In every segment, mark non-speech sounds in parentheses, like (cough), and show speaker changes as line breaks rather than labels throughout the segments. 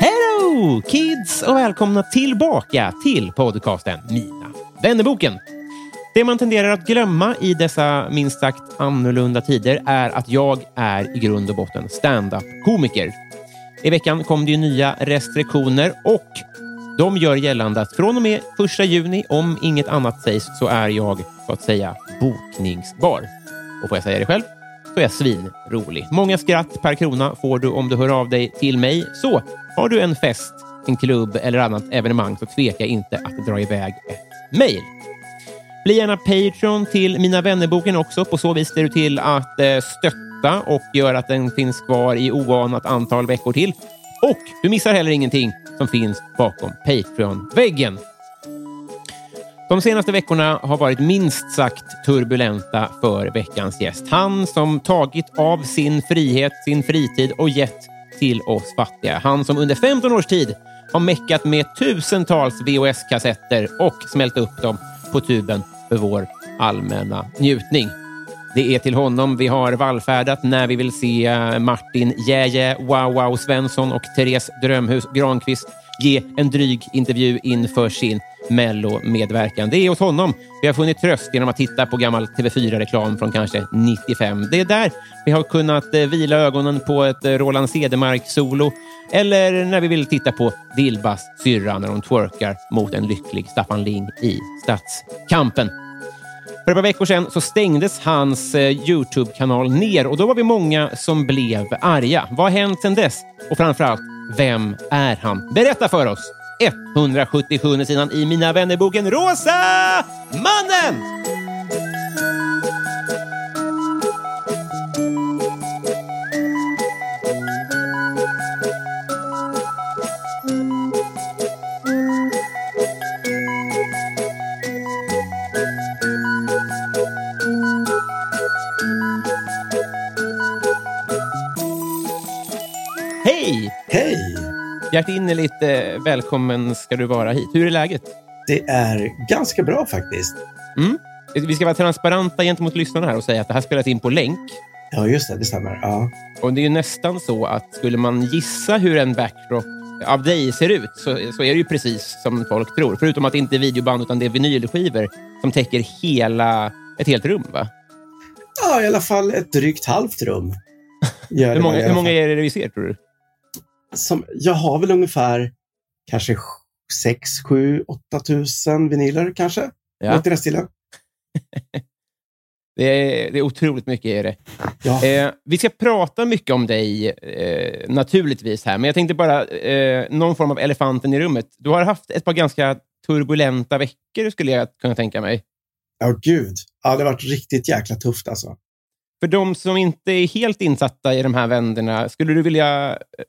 Hello kids och välkomna tillbaka till podcasten Mina vännerboken. Det man tenderar att glömma i dessa minst sagt annorlunda tider är att jag är i grund och botten stand-up-komiker. I veckan kom det ju nya restriktioner och de gör gällande att från och med 1 juni, om inget annat sägs, så är jag så att säga bokningsbar. Och får jag säga det själv? så är jag svinrolig. Många skratt per krona får du om du hör av dig till mig. Så har du en fest, en klubb eller annat evenemang så tveka inte att dra iväg ett mejl. Bli gärna Patreon till Mina vännerboken också. På så vis ser du till att eh, stötta och gör att den finns kvar i oanat antal veckor till. Och du missar heller ingenting som finns bakom Patreon-väggen. De senaste veckorna har varit minst sagt turbulenta för veckans gäst. Han som tagit av sin frihet, sin fritid och gett till oss fattiga. Han som under 15 års tid har meckat med tusentals VHS-kassetter och smält upp dem på tuben för vår allmänna njutning. Det är till honom vi har vallfärdat när vi vill se eh, Martin Jäje, Wow Wow Svensson och Therese Drömhus Granqvist ge en dryg intervju inför sin Mello-medverkan. Det är hos honom vi har funnit tröst genom att titta på gammal TV4-reklam från kanske 95. Det är där vi har kunnat eh, vila ögonen på ett eh, Roland Cedermark-solo eller när vi vill titta på Dilbas syrra när hon twerkar mot en lycklig Staffan Ling i Stadskampen. För ett par veckor sedan så stängdes hans eh, Youtube-kanal ner och då var vi många som blev arga. Vad har hänt sedan dess? Och framförallt, vem är han? Berätta för oss! 177 sidan i Mina vännerboken Rosa Mannen! Hej!
Hej!
Hjärtinnerligt eh, välkommen ska du vara hit. Hur är läget?
Det är ganska bra faktiskt.
Mm? Vi ska vara transparenta gentemot lyssnarna här och säga att det här spelas in på länk.
Ja, just det. Det stämmer. Ja.
Och det är ju nästan så att skulle man gissa hur en backdrop av dig ser ut så, så är det ju precis som folk tror. Förutom att det inte är videoband utan det är vinylskivor som täcker hela, ett helt rum. Va?
ja, i alla fall ett drygt
(laughs)
halvt rum. Gör
Hur,
det
många,
i alla
hur många
fall.
är det vi ser tror du?
Som, jag har väl ungefär kanske 6, 7, 8 tusen vinyler kanske.
Ja.
Något i den stilen.
Det är, det är otroligt mycket. Är det.
Ja.
Eh, vi ska prata mycket om dig eh, naturligtvis här, men jag tänkte bara eh, någon form av elefanten i rummet. Du har haft ett par ganska turbulenta veckor skulle jag kunna tänka mig.
Ja, gud. Ja, det har varit riktigt jäkla tufft alltså.
För de som inte är helt insatta i de här vänderna, skulle du vilja eh,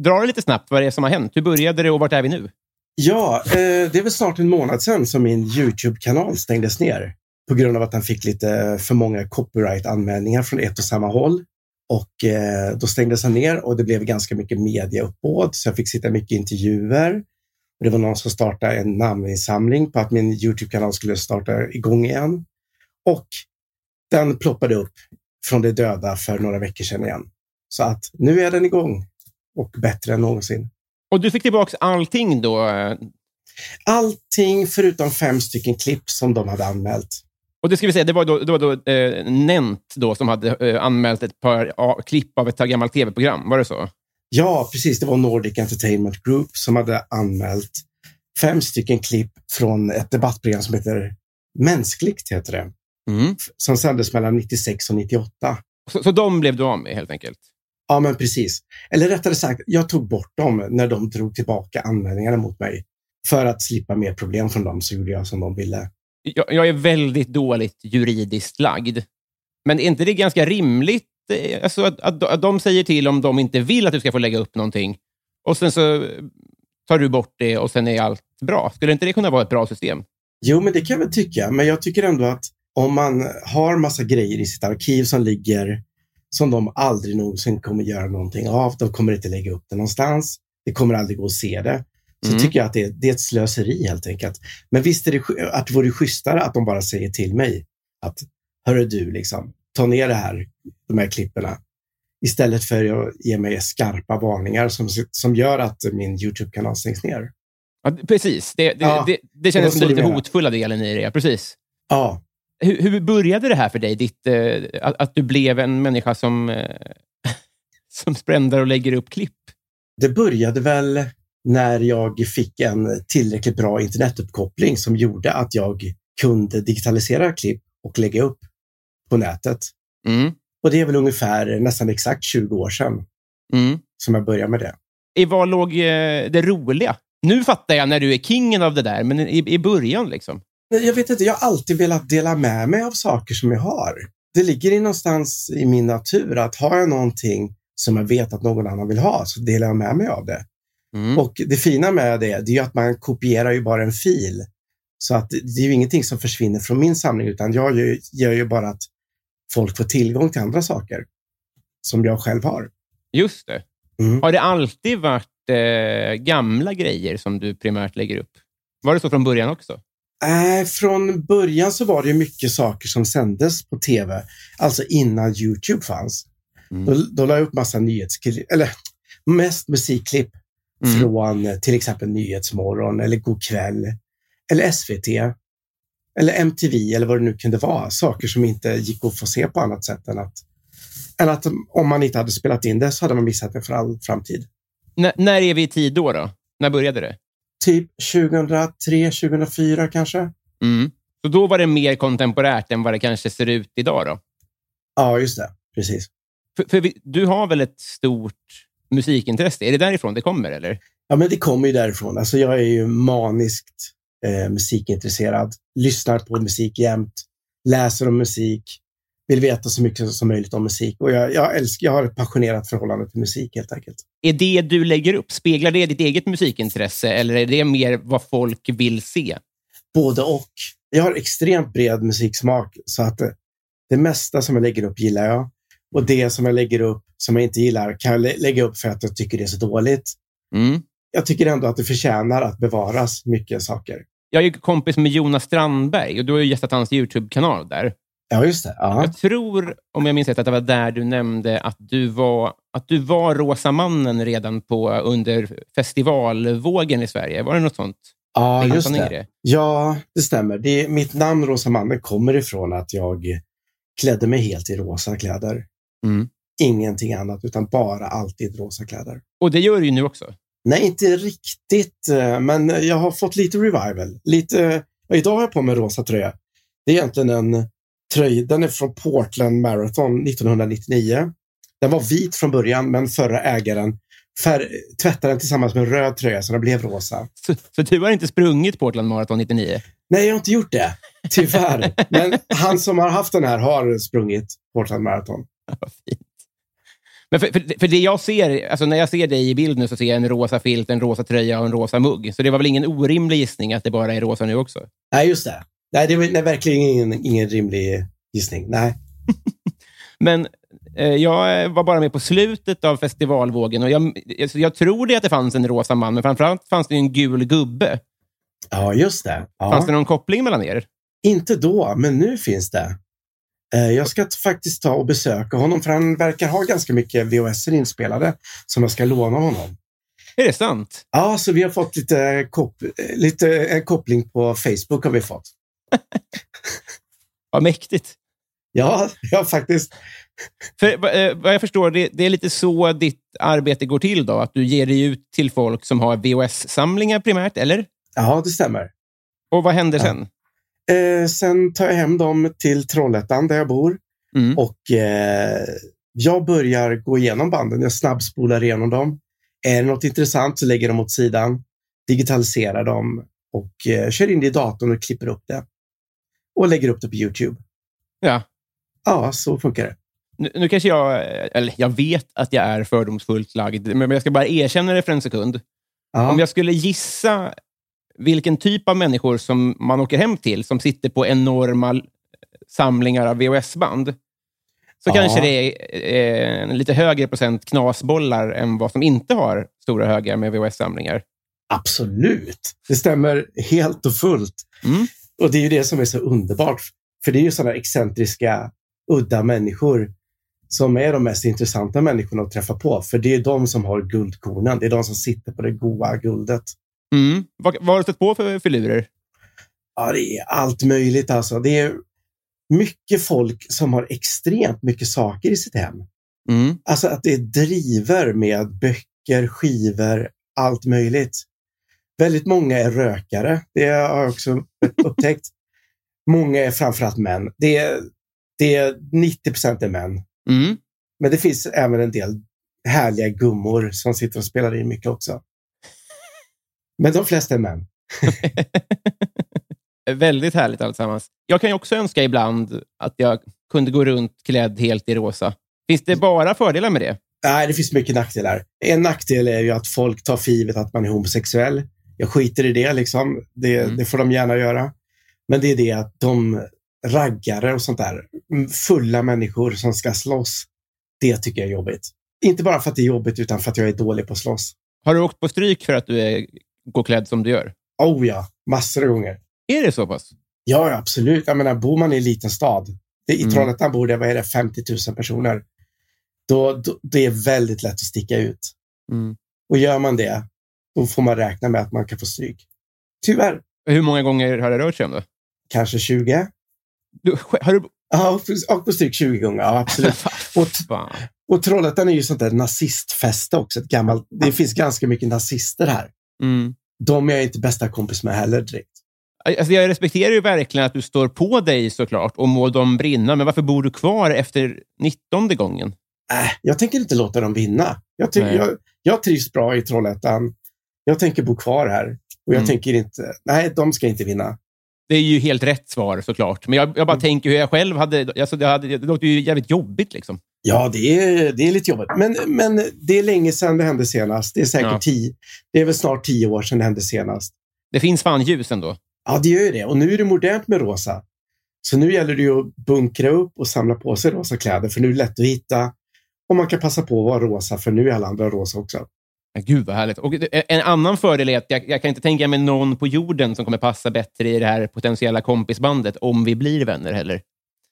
dra det lite snabbt vad det är som har hänt? Hur började det och vart är vi nu?
Ja, eh, det är väl snart en månad sedan som min Youtube-kanal stängdes ner på grund av att den fick lite för många copyright-anmälningar från ett och samma håll. Och eh, Då stängdes den ner och det blev ganska mycket mediauppbåd, så jag fick sitta mycket i intervjuer. Och Det var någon som startade en namninsamling på att min Youtube-kanal skulle starta igång igen. Och den ploppade upp från det döda för några veckor sedan igen. Så att nu är den igång och bättre än någonsin.
Och du fick tillbaka allting då? eh,
Allting förutom fem stycken klipp som de hade anmält.
Och det ska vi säga, det var då, då, då eh, Nent då, som hade eh, anmält ett par ja, klipp av ett gammalt tv-program. Var det så?
Ja, precis. Det var Nordic Entertainment Group som hade anmält fem stycken klipp från ett debattprogram som heter Mänskligt, heter det,
Mm.
som sändes mellan 96 och 98.
Så, så de blev du av med helt enkelt?
Ja, men precis. Eller rättare sagt, jag tog bort dem när de drog tillbaka anmälningarna mot mig. För att slippa mer problem från dem så gjorde jag som de ville.
jag, jag är väldigt dåligt juridiskt lagd. Men är inte det ganska rimligt eh, alltså att, att, att de säger till om de inte vill att du ska få lägga upp någonting och sen så eh, tar du bort det och sen är allt bra? Skulle inte det kunna vara ett bra system?
Jo, men det kan jag väl tycka. Men jag tycker ändå att om man har massa grejer i sitt arkiv som ligger som de aldrig någonsin kommer göra någonting av. De kommer inte lägga upp det någonstans. Det kommer aldrig gå att se det. Så
Mm.
tycker jag att det, det är ett slöseri helt enkelt. Men visst är det, sch- att det vore schysstare att de bara säger till mig att hörru du, liksom, ta ner det här, de här klipperna. Istället för att ge mig skarpa varningar som, som gör att min YouTube-kanal stängs ner.
Ja, d- precis. Det, det,
Ja,
det, det
det var
kändes som
så
den
du
lite
menar.
hotfulla delen i det. ja, Precis.
Ja,
Hur, hur började det här för dig? Ditt, eh, att, att du blev en människa som, eh, (laughs) som sprändar och lägger upp klipp?
Det började väl när jag fick en tillräckligt bra internetuppkoppling som gjorde att jag kunde digitalisera klipp och lägga upp på nätet.
Mm.
Och det är väl ungefär nästan exakt 20 år sedan
Mm.
som jag började med det.
I vad låg eh, det roliga? Nu fattar jag när du är kingen av det där, men i, i början liksom.
Nej, Jag vet inte, jag har alltid velat dela med mig av saker som jag har. Det ligger i någonstans i min natur att har jag någonting som jag vet att någon annan vill ha så delar jag med mig av det.
Mm.
Och det fina med det, det är ju att man kopierar ju bara en fil. Så att det är ju ingenting som försvinner från min samling, utan jag gör, gör ju bara att folk får tillgång till andra saker som jag själv har.
Just det.
Mm.
Har det alltid varit eh, gamla grejer som du primärt lägger upp? Var det så från början också?
Äh, från början så var det ju mycket saker som sändes på tv, alltså innan Youtube fanns.
Mm.
Då, då la jag upp massa nyhetsklipp, eller mest musikklipp
Mm.
från eh, till exempel Nyhetsmorgon eller Go'kväll eller SVT eller MTV eller vad det nu kunde vara. Saker som inte gick att få se på annat sätt än att, än att om man inte hade spelat in det så hade man missat det för all framtid.
N- när är vi i tid då, då? När började det?
Typ 2003, 2004 kanske?
Mm. Så då var det mer kontemporärt än vad det kanske ser ut idag? då?
Ja, just det. Precis.
För, för vi, du har väl ett stort musikintresse? Är det därifrån det kommer? eller?
Ja, men det kommer ju därifrån. Alltså, jag är ju maniskt eh, musikintresserad, lyssnar på musik jämt, läser om musik, vill veta så mycket som möjligt om musik. Och jag, jag, älskar, jag har ett passionerat förhållande till musik helt enkelt.
Är det du lägger upp, speglar det ditt eget musikintresse eller är det mer vad folk vill se?
Både och. Jag har extremt bred musiksmak så att eh, det mesta som jag lägger upp gillar jag. Och det som jag lägger upp som jag inte gillar kan jag lä- lägga upp för att jag tycker det är så dåligt.
Mm.
Jag tycker ändå att det förtjänar att bevaras mycket saker.
Jag är ju kompis med Jonas Strandberg och du har ju gästat hans YouTube-kanal där.
Ja, just det. Ja.
Jag tror, om jag minns rätt, att det var där du nämnde att du var, att du var Rosa mannen redan på, under festivalvågen i Sverige. Var det något sånt?
ja,
Hängde
just
han i
det. Ja, det stämmer. Det är, mitt namn Rosa Mannen kommer ifrån att jag klädde mig helt i rosa kläder.
Mm.
Ingenting annat, utan bara alltid rosa kläder.
Och det gör du ju nu också.
Nej, inte riktigt, eh, men jag har fått lite revival. Lite, eh, idag har jag på mig en rosa tröja. Det är egentligen en tröja, den är från Portland Marathon 1999. Den var vit från början, men förra ägaren fär, tvättade den tillsammans med en röd tröja så den blev rosa.
Så, så du har inte sprungit Portland Marathon 99?
Nej, jag har inte gjort det. Tyvärr. Men han som har haft den här har sprungit Portland Marathon.
Vad fint. Men för, för, för det jag ser, alltså när jag ser dig i bild nu så ser jag en rosa filt, en rosa tröja och en rosa mugg. Så det var väl ingen orimlig gissning att det bara är rosa nu också?
Nej, just det. Nej, det är nej, verkligen ingen, ingen rimlig gissning. Nej.
Men eh, jag var bara med på slutet av festivalvågen. Och jag, alltså, jag tror det att det fanns en rosa man, men framförallt fanns det ju en gul gubbe.
Ja, just det. Ja.
Fanns det någon koppling mellan er?
Inte då, men nu finns det. Eh, Jag ska t- faktiskt ta och besöka honom, för han verkar ha ganska mycket VHS inspelade som jag ska låna honom.
Är det sant?
Ja, så vi har fått lite, kop- eh, lite en koppling på Facebook har vi fått.
Vad mäktigt.
Ja, ja faktiskt.
För, va- eh, vad jag förstår, det, det är lite så ditt arbete går till då? Att du ger dig ut till folk som har VHS-samlingar primärt, eller?
Ja, det stämmer.
Och vad händer
Ja.
sen?
Eh, sen tar jag hem dem till Trollhättan där jag bor.
Mm.
Och eh, jag börjar gå igenom banden. Jag snabbspolar igenom dem. Är det något intressant så lägger jag dem åt sidan, digitaliserar dem och eh, kör in det i datorn och klipper upp det. Och lägger upp det på Youtube.
Ja.
Ja, så funkar det.
Nu, nu kanske jag... eh, Eller jag vet att jag är fördomsfullt lagd, men men jag ska bara erkänna det för en sekund.
Ja.
Om jag skulle gissa vilken typ av människor som man åker hem till, som sitter på enorma l- samlingar av VHS-band, så
Ja.
kanske det är eh, en lite högre procent knasbollar än vad som inte har stora högar med VHS-samlingar.
Absolut. Det stämmer helt och fullt.
Mm.
Och det är ju det som är så underbart. För det är ju sådana excentriska, udda människor som är de mest intressanta människorna att träffa på. För det är de som har guldkornen. Det är de som sitter på det goa guldet.
Mm. Vad, vad har du stött på för filurer?
Ja, det är allt möjligt alltså. Det är mycket folk som har extremt mycket saker i sitt hem.
Mm.
Alltså att det är driver med böcker, skivor, allt möjligt. Väldigt många är rökare. Det har jag också upptäckt. Många är framförallt män. Det är, det är 90 procent är män.
Mm.
Men det finns även en del härliga gummor som sitter och spelar in mycket också. Men de flesta är män.
(laughs) Väldigt härligt alltsammans. Jag kan ju också önska ibland att jag kunde gå runt klädd helt i rosa. Finns det bara fördelar med det?
Nej, det finns mycket nackdelar. En nackdel är ju att folk tar för givet att man är homosexuell. Jag skiter i det, liksom. det,
Mm.
det får de gärna göra. Men det är det att de raggare och sånt där, m- fulla människor som ska slåss, det tycker jag är jobbigt. Inte bara för att det är jobbigt, utan för att jag är dålig på att slåss.
Har du åkt på stryk för att du är, går klädd som du gör?
Oh ja, massor av gånger.
Är det så pass?
Ja, ja, absolut. Jag menar, bor man i en liten stad, det, i
Mm.
Trollhättan bor det, vad är det, 50 000 personer. Då, då, det är väldigt lätt att sticka ut. Och gör man det, då får man räkna med att man kan få stryk. Tyvärr,
Hur många gånger har det rört sig om då?
kanske 20.
Du, sk- har du...
Ja, och på stryk 20 gånger. Ja, absolut. Och,
(laughs) Fan.
och Trollhättan är ju sånt där nazistfäste också. Ett gammalt, det finns ganska mycket nazister här.
Mm.
De är jag inte bästa kompis med heller direkt.
Alltså, jag respekterar ju verkligen att du står på dig såklart och må de brinna, men varför bor du kvar efter 19 gången?
Äh, jag tänker inte låta dem vinna. Jag, ty-
Nej.
jag, jag trivs bra i Trollhättan. Jag tänker bo kvar här. Och jag
Mm.
tänker inte, nej, de ska inte vinna.
Det är ju helt rätt svar såklart, men jag, jag bara
Mm.
tänker hur jag själv hade... Alltså, det, hade det låter ju jävligt jobbigt. liksom.
Ja, det är, det är lite jobbigt. Men, men det är länge sedan det hände senast. Det är säkert
Ja.
tio. Det är väl snart tio år sedan det hände senast.
Det finns fan ljus ändå.
Ja, det gör ju det. Och nu är det modernt med rosa. Så nu gäller det ju att bunkra upp och samla på sig rosa kläder, för nu är det lätt att hitta. Och man kan passa på att vara rosa, för nu är alla andra rosa också.
Men Gud, vad härligt. Och det- en annan fördel är att jag, jag kan inte tänka mig någon på jorden som kommer passa bättre i det här potentiella kompisbandet, om vi blir vänner heller.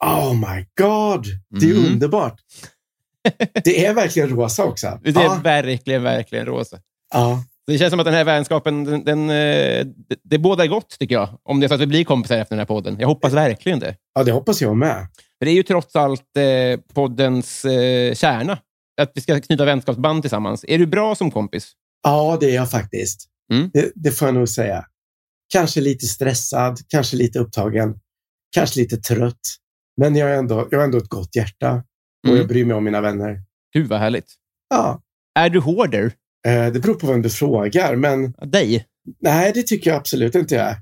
Oh my god! Det är ju
Mm. (laughs)
underbart. Det är verkligen rosa också.
Det är
Ja,
verkligen, verkligen rosa.
ja.
Det känns som att den här vänskapen, den, den, eh, det, det bådar gott tycker jag. Om det är så att vi blir kompisar efter den här podden. Jag hoppas verkligen det.
ja, det hoppas jag med.
För det är ju trots allt eh, poddens eh, kärna. Att vi ska knyta vänskapsband tillsammans. Är du bra som kompis?
Ja, det är jag faktiskt.
Mm.
Det, det får jag nog säga. Kanske lite stressad, kanske lite upptagen, kanske lite trött. Men jag har ändå, jag har ändå ett gott hjärta och
Mm.
jag bryr mig om mina vänner.
Gud vad härligt.
Ja,
Är du hårder?
Eh, Det beror på vem du frågar, men
Dig?
nej, det tycker jag absolut inte jag är.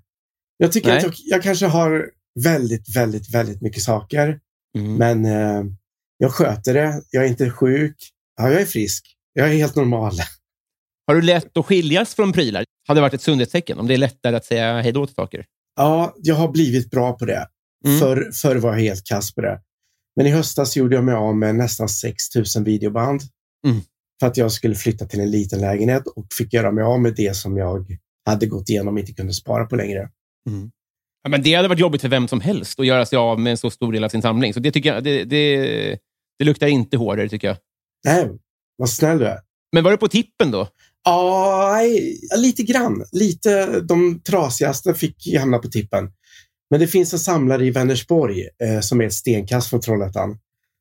Jag tycker
Nej.
att jag, jag kanske har väldigt, väldigt, väldigt mycket saker,
Men-
men eh, jag sköter det. Jag är inte sjuk. Ja, jag är frisk. Jag är helt normal.
Har du lätt att skiljas från prylar? Hade varit ett sundhetstecken om det är lättare att säga hej då till saker.
Ja, jag har blivit bra på det.
Mm.
Förr, förr var jag helt kass på det. Men i höstas gjorde jag mig av med nästan 6 000 videoband
Mm.
för att jag skulle flytta till en liten lägenhet och fick göra mig av med det som jag hade gått igenom och inte kunde spara på längre.
Ja, men det hade varit jobbigt för vem som helst att göra sig av med en så stor del av sin samling. Så det, tycker jag, det, det, det luktar inte hårdare, tycker jag.
Nej, vad snäll du är.
Men var du på tippen då?
Ja, nej, lite grann. Lite, de trasigaste fick ju hamna på tippen. Men det finns en samlare i Vänersborg eh, som är ett stenkast från Trollhättan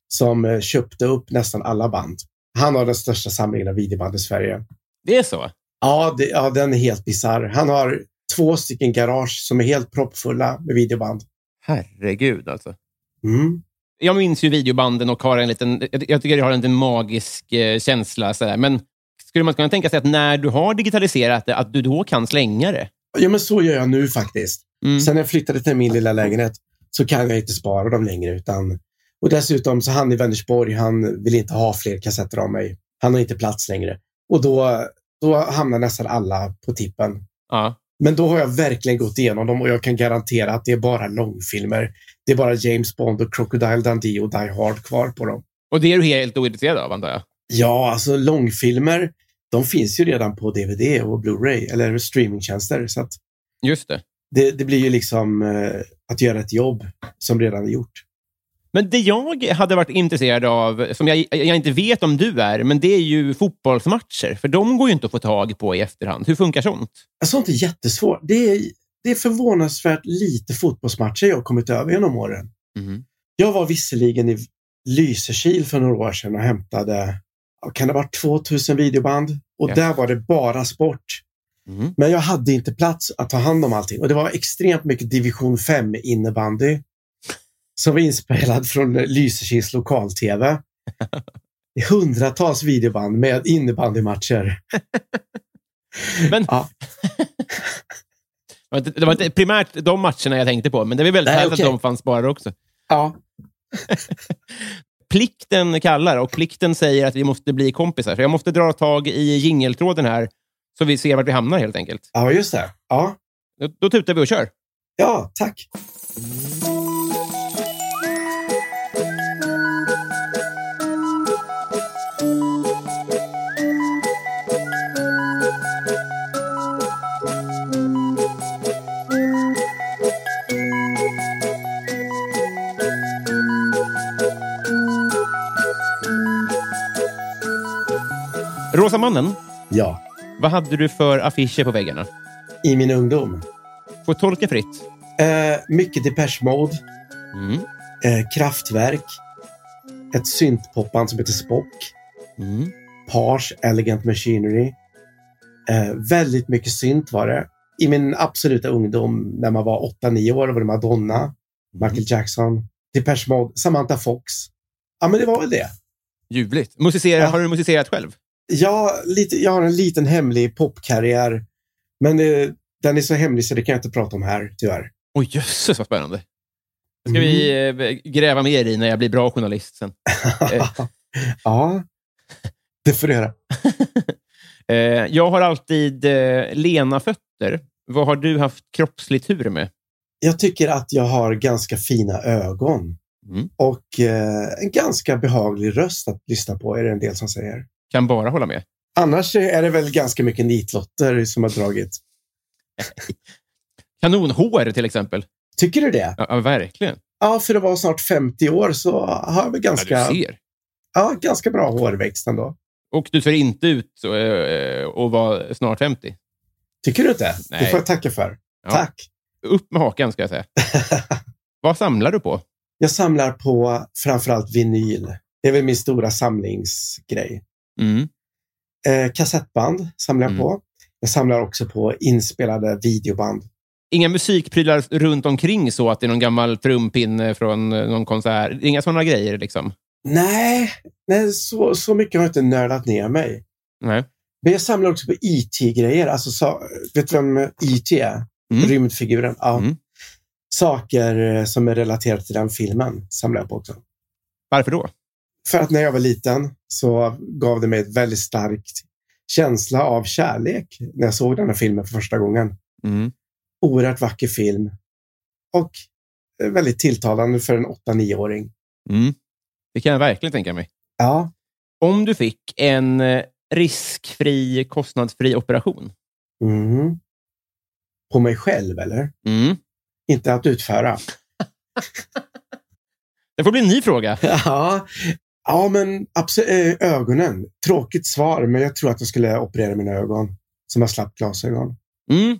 som eh, köpte upp nästan alla band. Han har den största samlingen av videoband i Sverige.
Det är så?
Ja, det, ja den är helt bisarr. Han har två stycken garage som är helt proppfulla med videoband.
Herregud alltså.
Mm.
Jag minns ju videobanden och har en liten, jag jag tycker jag har en liten magisk eh, känsla. Så där. Men skulle man kunna tänka sig att när du har digitaliserat det, att du då kan slänga det?
Ja, men så gör jag nu faktiskt.
Mm.
Sen när jag flyttade till min lilla lägenhet så kan jag inte spara dem längre. Utan, och dessutom så han i Vänersborg, han vill inte ha fler kassetter av mig. Han har inte plats längre. Och då, då hamnar nästan alla på tippen.
Ja.
Men då har jag verkligen gått igenom dem och jag kan garantera att det är bara långfilmer. Det är bara James Bond och Crocodile Dundee och Die Hard kvar på dem.
Och det är du helt ointresserad av, antar jag?
Ja, alltså långfilmer, de finns ju redan på DVD och Blu-ray eller streamingtjänster. Så att
Just det.
det, det blir ju liksom eh, att göra ett jobb som redan är gjort.
Men det jag hade varit intresserad av, som jag, jag inte vet om du är, men det är ju fotbollsmatcher. För de går ju inte att få tag på i efterhand. Hur funkar sånt?
Sånt är jättesvårt. Det är, det är förvånansvärt lite fotbollsmatcher jag har kommit över genom åren. Mhm.
Mm.
Jag var visserligen i Lysekil för några år sedan och hämtade, ja, kan det ha varit 2000 videoband? Och
Ja.
där var det bara sport.
Mm.
Men jag hade inte plats att ta hand om allting. Och det var extremt mycket division 5 innebandy som var inspelad från Lysekils lokal-tv.
(laughs)
Hundratals videoband med innebandymatcher.
Men- (laughs)
ja.
Det var inte- Det var inte primärt de matcherna jag tänkte på, men det är väl väldigt
Nej,
härligt
okej.
att de fanns bara också.
ja,
Plikten kallar och plikten säger att vi måste bli kompisar. Så jag måste dra tag i jingeltråden här, så vi ser vart vi hamnar helt enkelt.
ja, just det. Ja.
Då, då tutar vi och kör.
Ja, tack.
Rosa mannen,
Ja,
vad hade du för affischer på väggarna?
i min ungdom.
Får tolka fritt.
Eh, mycket Depeche Mode,
Mm.
eh, Kraftwerk, ett syntpopband som heter Spock,
Mm.
Pars Elegant Machinery. Eh, väldigt mycket synt var det. I min absoluta ungdom, när man var 8-9 år, var det
Mm.
Madonna, Michael Jackson, Depeche Mode, Samantha Fox. Ja, men det var väl det.
Ljuvligt. Musicera,
Ja.
Har du musicerat själv?
Jag, lite, jag har en liten hemlig popkarriär, men eh, den är så hemlig så det kan jag inte prata om här, tyvärr.
Oj, jösses vad spännande. Det ska vi eh, gräva mer i när jag blir bra journalist sen. (laughs) Eh.
Mm. (laughs) ja, det får du göra.
Eh, jag har alltid eh, lena fötter. Vad har du haft kroppslig tur med?
Jag tycker att jag har ganska fina ögon
Mm.
och eh, en ganska behaglig röst att lyssna på, är det en del som säger.
Kan bara hålla med.
Annars är det väl ganska mycket nitlotter som har dragit.
Kanonhår till exempel.
Tycker du det?
Ja, ja verkligen.
Ja, för att vara snart 50 år så har jag väl ganska,
Ja,
ja,
du ser.
ganska bra hårväxt ändå.
Och du ser inte ut eh, och var snart 50.
Tycker du inte?
Nej.
Det får jag tacka för.
Ja.
Tack! (laughs)
Upp med hakan, ska jag säga. Vad samlar du på?
Jag samlar på framförallt vinyl. Det är väl min stora samlingsgrej.
Mm.
Eh, kassettband samlar jag
Mm.
på. Jag samlar också på inspelade videoband.
Inga musikprylar runt omkring så att det är någon gammal trumpinne från eh, någon konsert. Inga sådana grejer liksom.
Nej, nej så, så mycket har jag inte nördat ner mig.
Nej.
Men jag samlar också på IT-grejer. Alltså, sa- vet du vem IT är?
Mm.
Rymdfiguren. Ja.
Mm.
Saker eh, som är relaterade till den filmen samlar jag på också.
Varför då?
För att när jag var liten så gav det mig ett väldigt starkt känsla av kärlek när jag såg den här filmen för första gången.
Mm.
Oerhört vacker film och eh, väldigt tilltalande för en 8-9-åring.
Mm. Det kan jag verkligen tänka mig.
Ja,
Om du fick en eh, riskfri, kostnadsfri operation.
Mm. På mig själv, eller?
Mm.
Inte att utföra.
Det får bli en ny fråga.
Ja, ja men absolut, eh, ögonen. Tråkigt svar, men jag tror att jag skulle operera mina ögon. Som jag slapp glasögon.
Mm.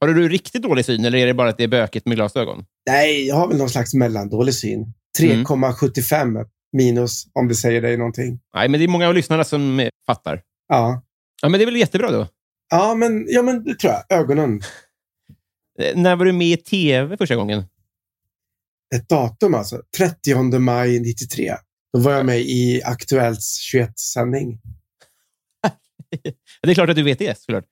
Har du riktigt dålig syn eller är det bara att det är bökigt med glasögon?
Nej, jag har väl någon slags mellandålig syn. 3,75 minus, om det säger dig någonting.
Nej, men det är många av lyssnarna som eh, fattar.
Ja,
Ja, men det är väl jättebra då.
ja, men, ja men det tror jag. Ögonen.
Eh, När var du med i tv första gången?
Ett datum alltså. 30 maj 93. Då var jag med i Aktuellts 21-sändning.
Det är klart att du vet det, såklart.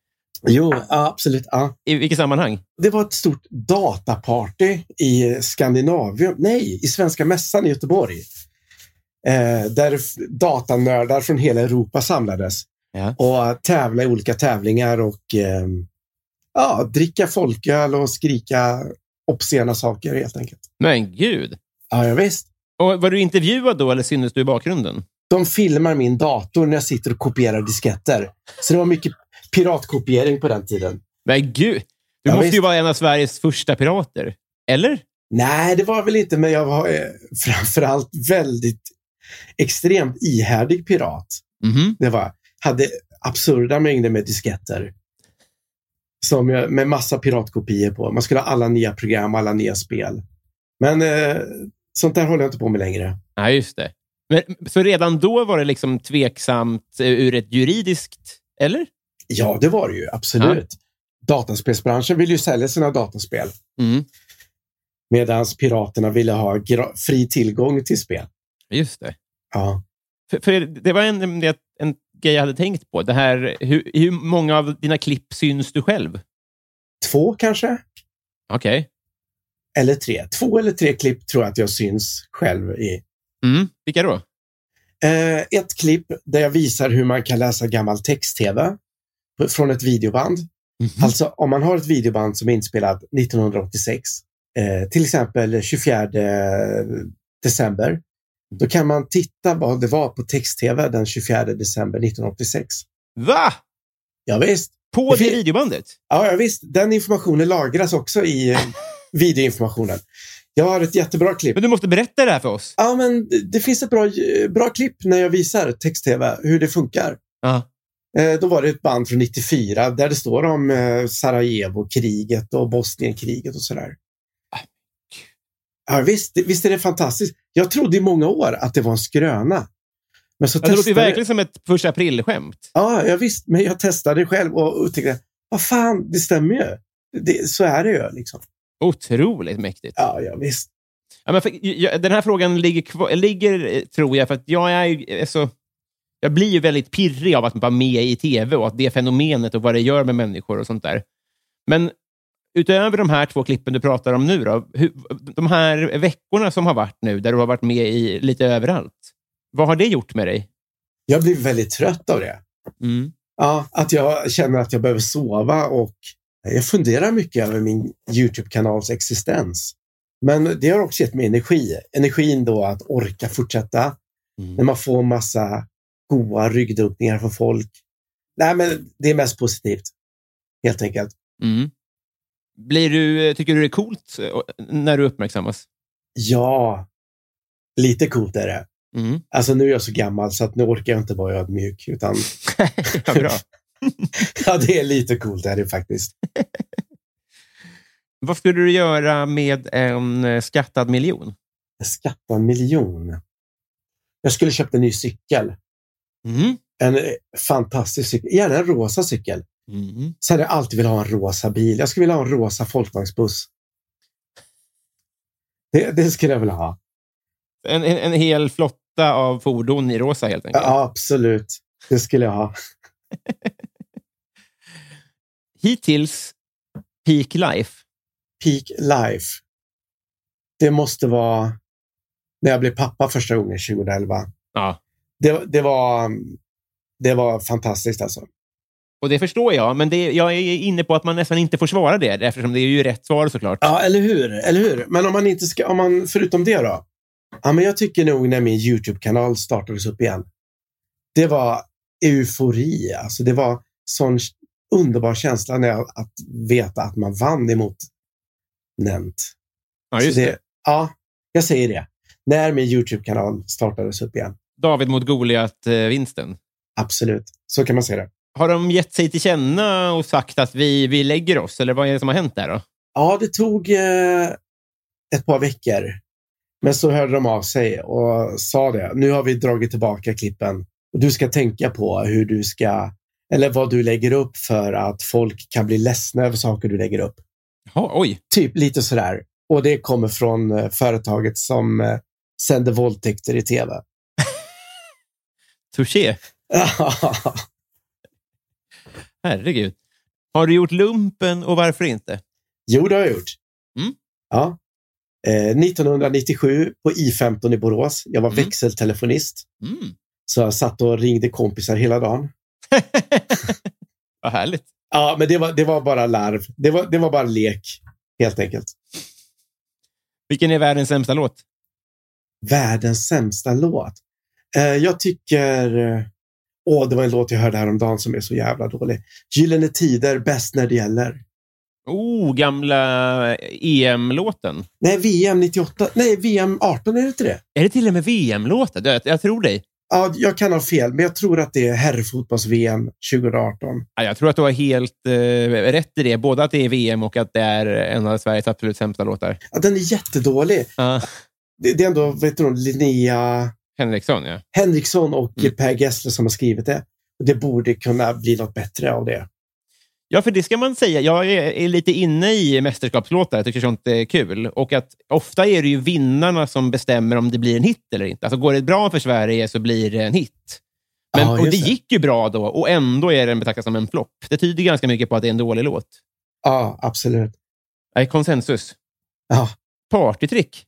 Jo, ja, absolut. Ja.
I vilket sammanhang?
Det var ett stort dataparty i Skandinavien, nej, i Svenska mässan i Göteborg. Eh, där f- datanördar från hela Europa samlades
Ja.
och eh, tävlade i olika tävlingar och eh, ja, dricka folköl och skrika obscena saker helt enkelt.
Men gud!
Ja, ja, visst.
Och var du intervjuad då eller syntes du i bakgrunden?
De filmar min dator när jag sitter och kopierar disketter. Så det var mycket piratkopiering på den tiden.
Men gud! Du
Ja,
måste ju
visst.
vara en av Sveriges första pirater. Eller?
Nej, det var väl inte, men jag var eh, framförallt väldigt extremt ihärdig pirat.
Mhm.
Det var, hade absurda mängder med disketter. Som jag, med massa piratkopior på. Man skulle ha alla nya program, alla nya spel. Men eh, sånt där håller jag inte på med längre.
Ja, just det. Men, så redan då var det liksom tveksamt eh, ur ett juridiskt... Eller?
Ja, det var det ju. Absolut. Dataspelsbranschen ville ju sälja sina dataspel.
Mm.
Medan piraterna ville ha gra- fri tillgång till spel.
Just det.
Ja.
För, för det var en, det- en grej jag hade tänkt på. Det här, hur, hur många av dina klipp syns du själv?
Två kanske?
Okej.
Eller tre. Två eller tre klipp tror jag att jag syns själv i.
Mm. Vilka då?
Eh, ett klipp där jag visar hur man kan läsa gammal text-tv på- från ett videoband.
Mm.
Alltså om man har ett videoband som är inspelat 1986, eh, till exempel 24 december, då kan man titta vad det var på text-tv den 24 december 1986.
Va?
Ja, visst.
På det
Det fin-
videobandet?
Ja, ja, visst. Den informationen lagras också i eh, videoinformationen. Jag har ett jättebra klipp.
Men du måste berätta det här för oss.
Ja, men det- det finns ett bra, bra klipp när jag visar text-tv, hur det funkar.
Ja.
Eh, Då var det ett band från 94 där det står om eh, Sarajevo-kriget och Bosnienkriget och sådär.
Ah,
Ja, visst, visst är det fantastiskt. Jag trodde i många år att det var en skröna. Men så
Ja, Det låter ju
testade-
verkligen som ett första april-skämt.
Ja, jag visst, men jag testade det själv och, och tänkte, vad fan, det stämmer ju. Det, så är det ju. Liksom.
Otroligt mäktigt.
Ja, ja, visst.
Ja, men för, jag, den här frågan ligger, kvar, ligger, eh, tror jag, för att jag är ju... Alltså, jag blir ju väldigt pirrig av att vara med i tv och att det fenomenet och vad det gör med människor och sånt där. Men utöver de här två klippen du pratar om nu, då, hur, de här veckorna som har varit nu, där du har varit med i lite överallt, vad har det gjort med dig?
Jag blir väldigt trött av det.
Mm.
Ja, att jag känner att jag behöver sova och jag funderar mycket över min Youtube-kanals existens. Men det har också gett mig energi. Energin då att orka fortsätta
Mm.
när man får massa goa ryggdunkningar från folk. Nej, men det är mest positivt. Helt enkelt.
Mm. Blir du, tycker du det är coolt eh, när du uppmärksammas?
Ja, lite coolt är det.
Mm.
Alltså nu är jag så gammal så att nu orkar jag inte vara ödmjuk. Utan
(laughs)
(laughs)
ja, bra.
ja, det är lite coolt är det faktiskt.
Vad skulle du göra med en eh, skattad miljon?
Skatta en miljon. Jag skulle köpt en ny cykel.
Mm.
En eh, fantastisk cykel, gärna en rosa cykel. Sen hade jag alltid velat ha en rosa bil. Jag skulle vilja ha en rosa folkvagnsbuss. Det, det skulle jag vilja ha.
En, en, en hel flotta av fordon i rosa, helt enkelt.
Ja, absolut. Det skulle jag ha.
Hittills peak life.
Peak life. Det måste vara när jag blev pappa första gången 2011.
Ja.
Det, det, var, mm, det var fantastiskt alltså.
Och det förstår jag, men det, jag är inne på att man nästan inte får svara det, eftersom det är ju rätt svar såklart.
Ja, eller hur? Eller hur? Men om man inte ska, om man, förutom det då? Ja, men jag tycker nog när min YouTube-kanal startades upp igen. Det var eufori. Alltså det var sån underbar känsla när jag, att veta att man vann emot Nent.
Ja, just
Så
det.
Ja, jag säger det. När min YouTube-kanal startades upp igen.
David mot Goliat-vinsten.
Absolut, så kan man säga det.
Har de gett sig till känna och sagt att vi, vi lägger oss? Eller vad är det som har hänt där? då?
Ja, det tog eh, ett par veckor. Men så hörde de av sig och sa det. Nu har vi dragit tillbaka klippen. Och du ska tänka på hur du ska, eller vad du lägger upp för att folk kan bli ledsna över saker du lägger upp.
Jaha, oj.
Typ lite sådär. Och det kommer från eh, företaget som eh, sänder våldtäkter i tv.
Touché. Herregud. Har du gjort lumpen och varför inte?
(laughs) jo, det har jag gjort.
Mm.
Ja. Eh, 1997 på I15 i Borås. Jag var
Mm.
växeltelefonist.
Mm.
Så jag satt och ringde kompisar hela dagen.
(laughs) vad härligt.
Ja, men det var, det var bara larv. Det var, det var bara lek, helt enkelt.
Vilken är världens sämsta låt?
Världens sämsta låt. Eh, jag tycker... eh, Åh, det var en låt jag hörde häromdagen som är så jävla dålig. Gyllene Tider, bäst när det gäller.
Oh, gamla eh, E EM-låten.
Nej, VM 98. Nej, VM 18 är det inte det?
Är det till och med VM-låten? Jag, jag tror dig.
Ja, jag kan ha fel, men jag tror att det är herrfotbolls-VM 2018.
Ja, Jag tror att du har helt eh, rätt i det. Både att det är VM och att det är en av Sveriges absolut sämsta låtar.
Ja, den är jättedålig.
Ah,
Det, det är ändå vet du, någon, Linnea
Henriksson, ja.
Henriksson och
Mm.
Per Gessle som har skrivit det. Det borde kunna bli något bättre av det.
Ja, för det ska man säga. Jag är, är lite inne i mästerskapslåtar. Jag tycker sånt är kul. Och att ofta är det ju vinnarna som bestämmer om det blir en hit eller inte. Alltså går det bra för Sverige så blir det en hit. Men,
Ja,
och
just
det
det.
gick ju bra då och ändå är den betraktad som en flopp. Det tyder ganska mycket på att det är en dålig låt.
Ja, absolut.
Nej, konsensus.
Ja.
Partytrick.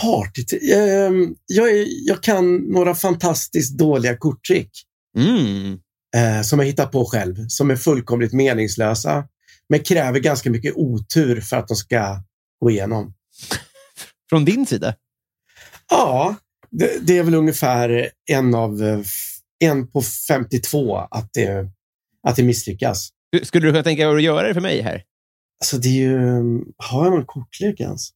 Partyt. Ehm, jag, är- jag kan några fantastiskt dåliga korttrick
Mm.
eh, som jag hittar på själv, som är fullkomligt meningslösa, men kräver ganska mycket otur för att de ska gå igenom.
Från din sida.
Ja, det, det är väl ungefär en av eh, f- en på 52 att det, att det misslyckas.
Skulle du kunna tänka dig att göra det för mig här?
Alltså det är ju... Har jag någon kortlek ens?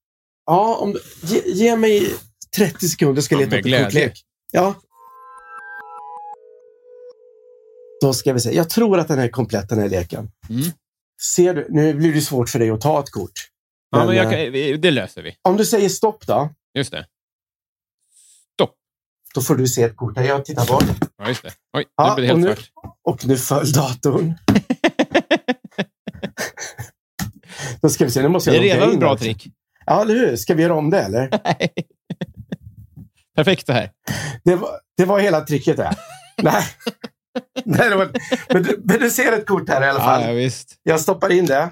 Ja, om, du- ge, ge mig 30 sekunder ska jag
Ja,
leta
med
upp
glädje.
en kortlek. Ja. Då ska vi se. Jag tror att den här är komplett, den här leken.
Mm.
Ser du? Nu blir det svårt för dig att ta ett kort.
Ja, men
Men,
jag
eh,
kan, vi- det löser vi.
Om du säger stopp då,
Just det.
då får du se ett kort. Här, Jag tittar bort.
Ja, just det. Oj,
Ja,
nu blev det helt
och nu-
svart.
Och nu
(laughs)
föll datorn. Då ska vi se. Nu måste
Det
jag
är
logga
redan ett
in
bra
också.
trick. (laughs)
Ja, eller hur? Ska vi göra om det eller?
Nej. Perfekt det här.
Det var, det var hela tricket det.
(laughs)
Nej. Nej det var, men, du, men du ser ett kort här i alla
Ja,
fall.
ja, visst.
Jag stoppar in det.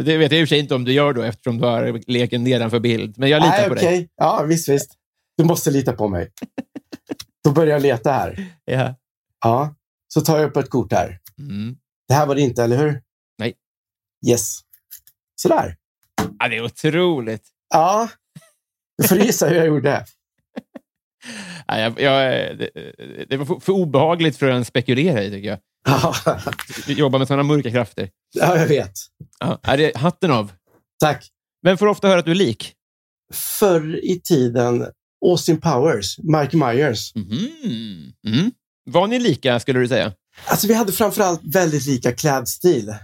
Det vet jag i och för sig inte om du gör då, eftersom du har leken nedanför bild. Men jag litar
Nej,
på dig.
okej. Ja, visst, visst. Du måste lita på mig. Då börjar jag leta här.
Ja.
Ja. Så tar jag upp ett kort här.
Mm.
Det här var det inte, eller hur?
Nej.
Yes. Sådär.
Ja, det är otroligt.
Ja. Du får gissa hur jag gjorde.
Ja, jag, jag, det, det var för- för obehagligt för att ens spekulera i, tycker jag.
Ja,
Jobba med sådana mörka krafter.
ja jag vet.
Ja, är det hatten av.
Tack.
Vem får ofta höra att du är lik?
Förr i tiden, Austin Powers, Mike Myers.
Mhm. Mm. Var ni lika, skulle du säga?
Alltså, vi hade framförallt väldigt lika klädstil.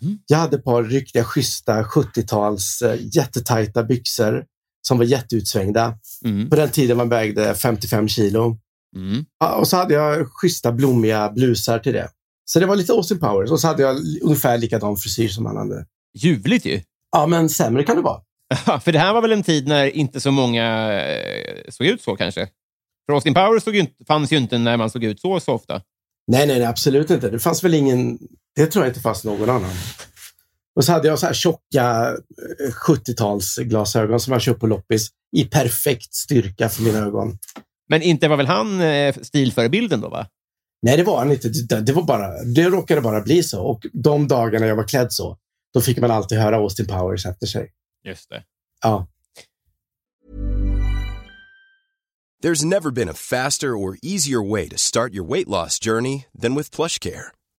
Mhm.
Jag hade ett par riktiga schyssta 70-tals eh, jättetajta byxor som var jätteutsvängda.
Mm.
På den tiden man vägde 55 kilo.
Mm.
Ja, Och så hade jag schyssta blommiga blusar till det. Så det var lite Austin Powers. Och så hade jag li- ungefär likadan frisyr som han hade.
Ljuvligt ju.
Ja, men sämre kan det vara.
Ja, för det här var väl en tid när inte så många eh, såg ut så kanske? För Austin Powers såg ju inte, fanns ju inte när man såg ut så, så ofta.
Nej, nej, nej, absolut inte. Det fanns väl ingen... Det tror jag inte fanns någon annan. Och så hade jag så här tjocka eh, 70-talsglasögon som jag köpte på loppis i perfekt styrka för mina ögon.
Men inte var väl han eh, stilförebilden då, va?
Nej, det var han inte. Det, det, var bara, det råkade bara bli så. Och de dagarna jag var klädd så, då fick man alltid höra Austin Powers efter sig.
Just det.
Ja.
There's never been a faster or easier way to start your weight loss journey than with PlushCare.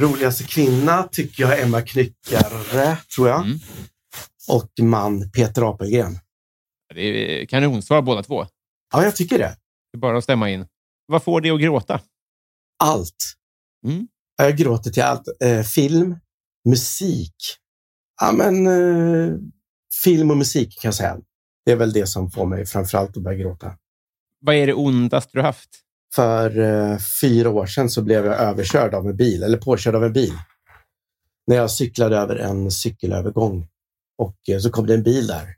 Roligaste kvinna tycker jag är Emma Knyckare, tror jag.
Mm.
Och man Peter Apelgren.
Det är eh, kanonsvar båda två.
Ja, jag tycker det.
Det är bara att stämma in. Vad får dig att gråta?
Allt.
Mm.
Ja, Jag gråter till allt. Eh, film, musik. Ja, men eh, film och musik kan jag säga. Det är väl det som får mig framförallt att börja gråta.
Vad är det ondaste du haft?
För eh, fyra år sedan så blev jag överkörd av en bil, eller påkörd av en bil. När jag cyklade över en cykelövergång och eh, så kom det en bil där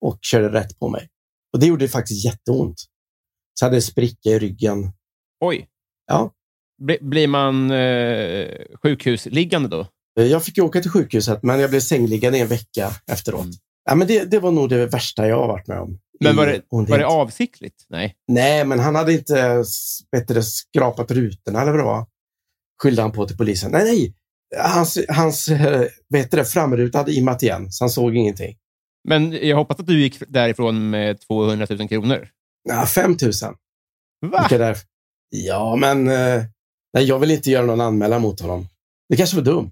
och körde rätt på mig. Och det gjorde faktiskt jätteont. Så hade jag en spricka i ryggen.
Oj.
Ja.
Bli- Blir man eh, sjukhusliggande då?
Eh, Jag fick ju åka till sjukhuset, men jag blev sängliggande i en vecka efteråt.
Mm.
Ja, men det, det var nog det värsta jag har varit med om.
Men
I
var det,
ondhet.
var det avsiktligt? Nej.
Nej, men han hade inte s- vet du, det, skrapat rutorna eller vad det var. Skyllde han på till polisen. Nej, nej. Hans, hans eh, vet du det, framruta hade immat igen, så han såg ingenting.
Men jag hoppas att du gick därifrån med 200 000 kronor.
Ja, 5 000.
Va?
Gick jag där. Ja, men eh, nej, jag vill inte göra någon anmälan mot honom. Det kanske var dumt.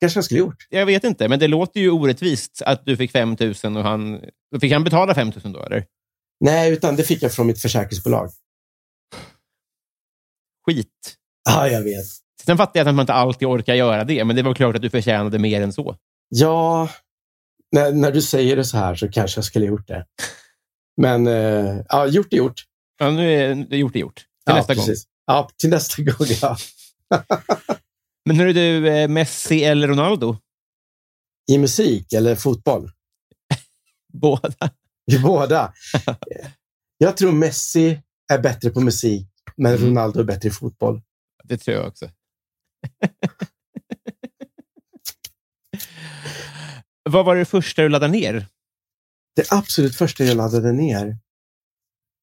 kanske jag skulle gjort.
Jag vet inte, men det låter ju orättvist att du fick 5 000 och han... Då fick han betala 5 000 då, eller?
Nej, utan det fick jag från mitt försäkringsbolag.
Skit.
Ja, jag vet.
Sen fattar jag att man inte alltid orkar göra det, men det var klart att du förtjänade mer än så.
Ja, när, när du säger det så här så kanske jag skulle gjort det. Men eh, ja, gjort är gjort.
Ja, nu är det gjort det gjort. Till nästa gång.
precis. Ja, till nästa gång. (laughs) Ja.
Men hur är du, eh, Messi eller Ronaldo? (laughs)
I musik eller fotboll?
Båda.
I (laughs) båda. Jag tror Messi är bättre på musik, men
Mm.
Ronaldo är bättre i fotboll.
Det tror jag också. (laughs) Vad var det första du laddade ner?
Det absolut första jag laddade ner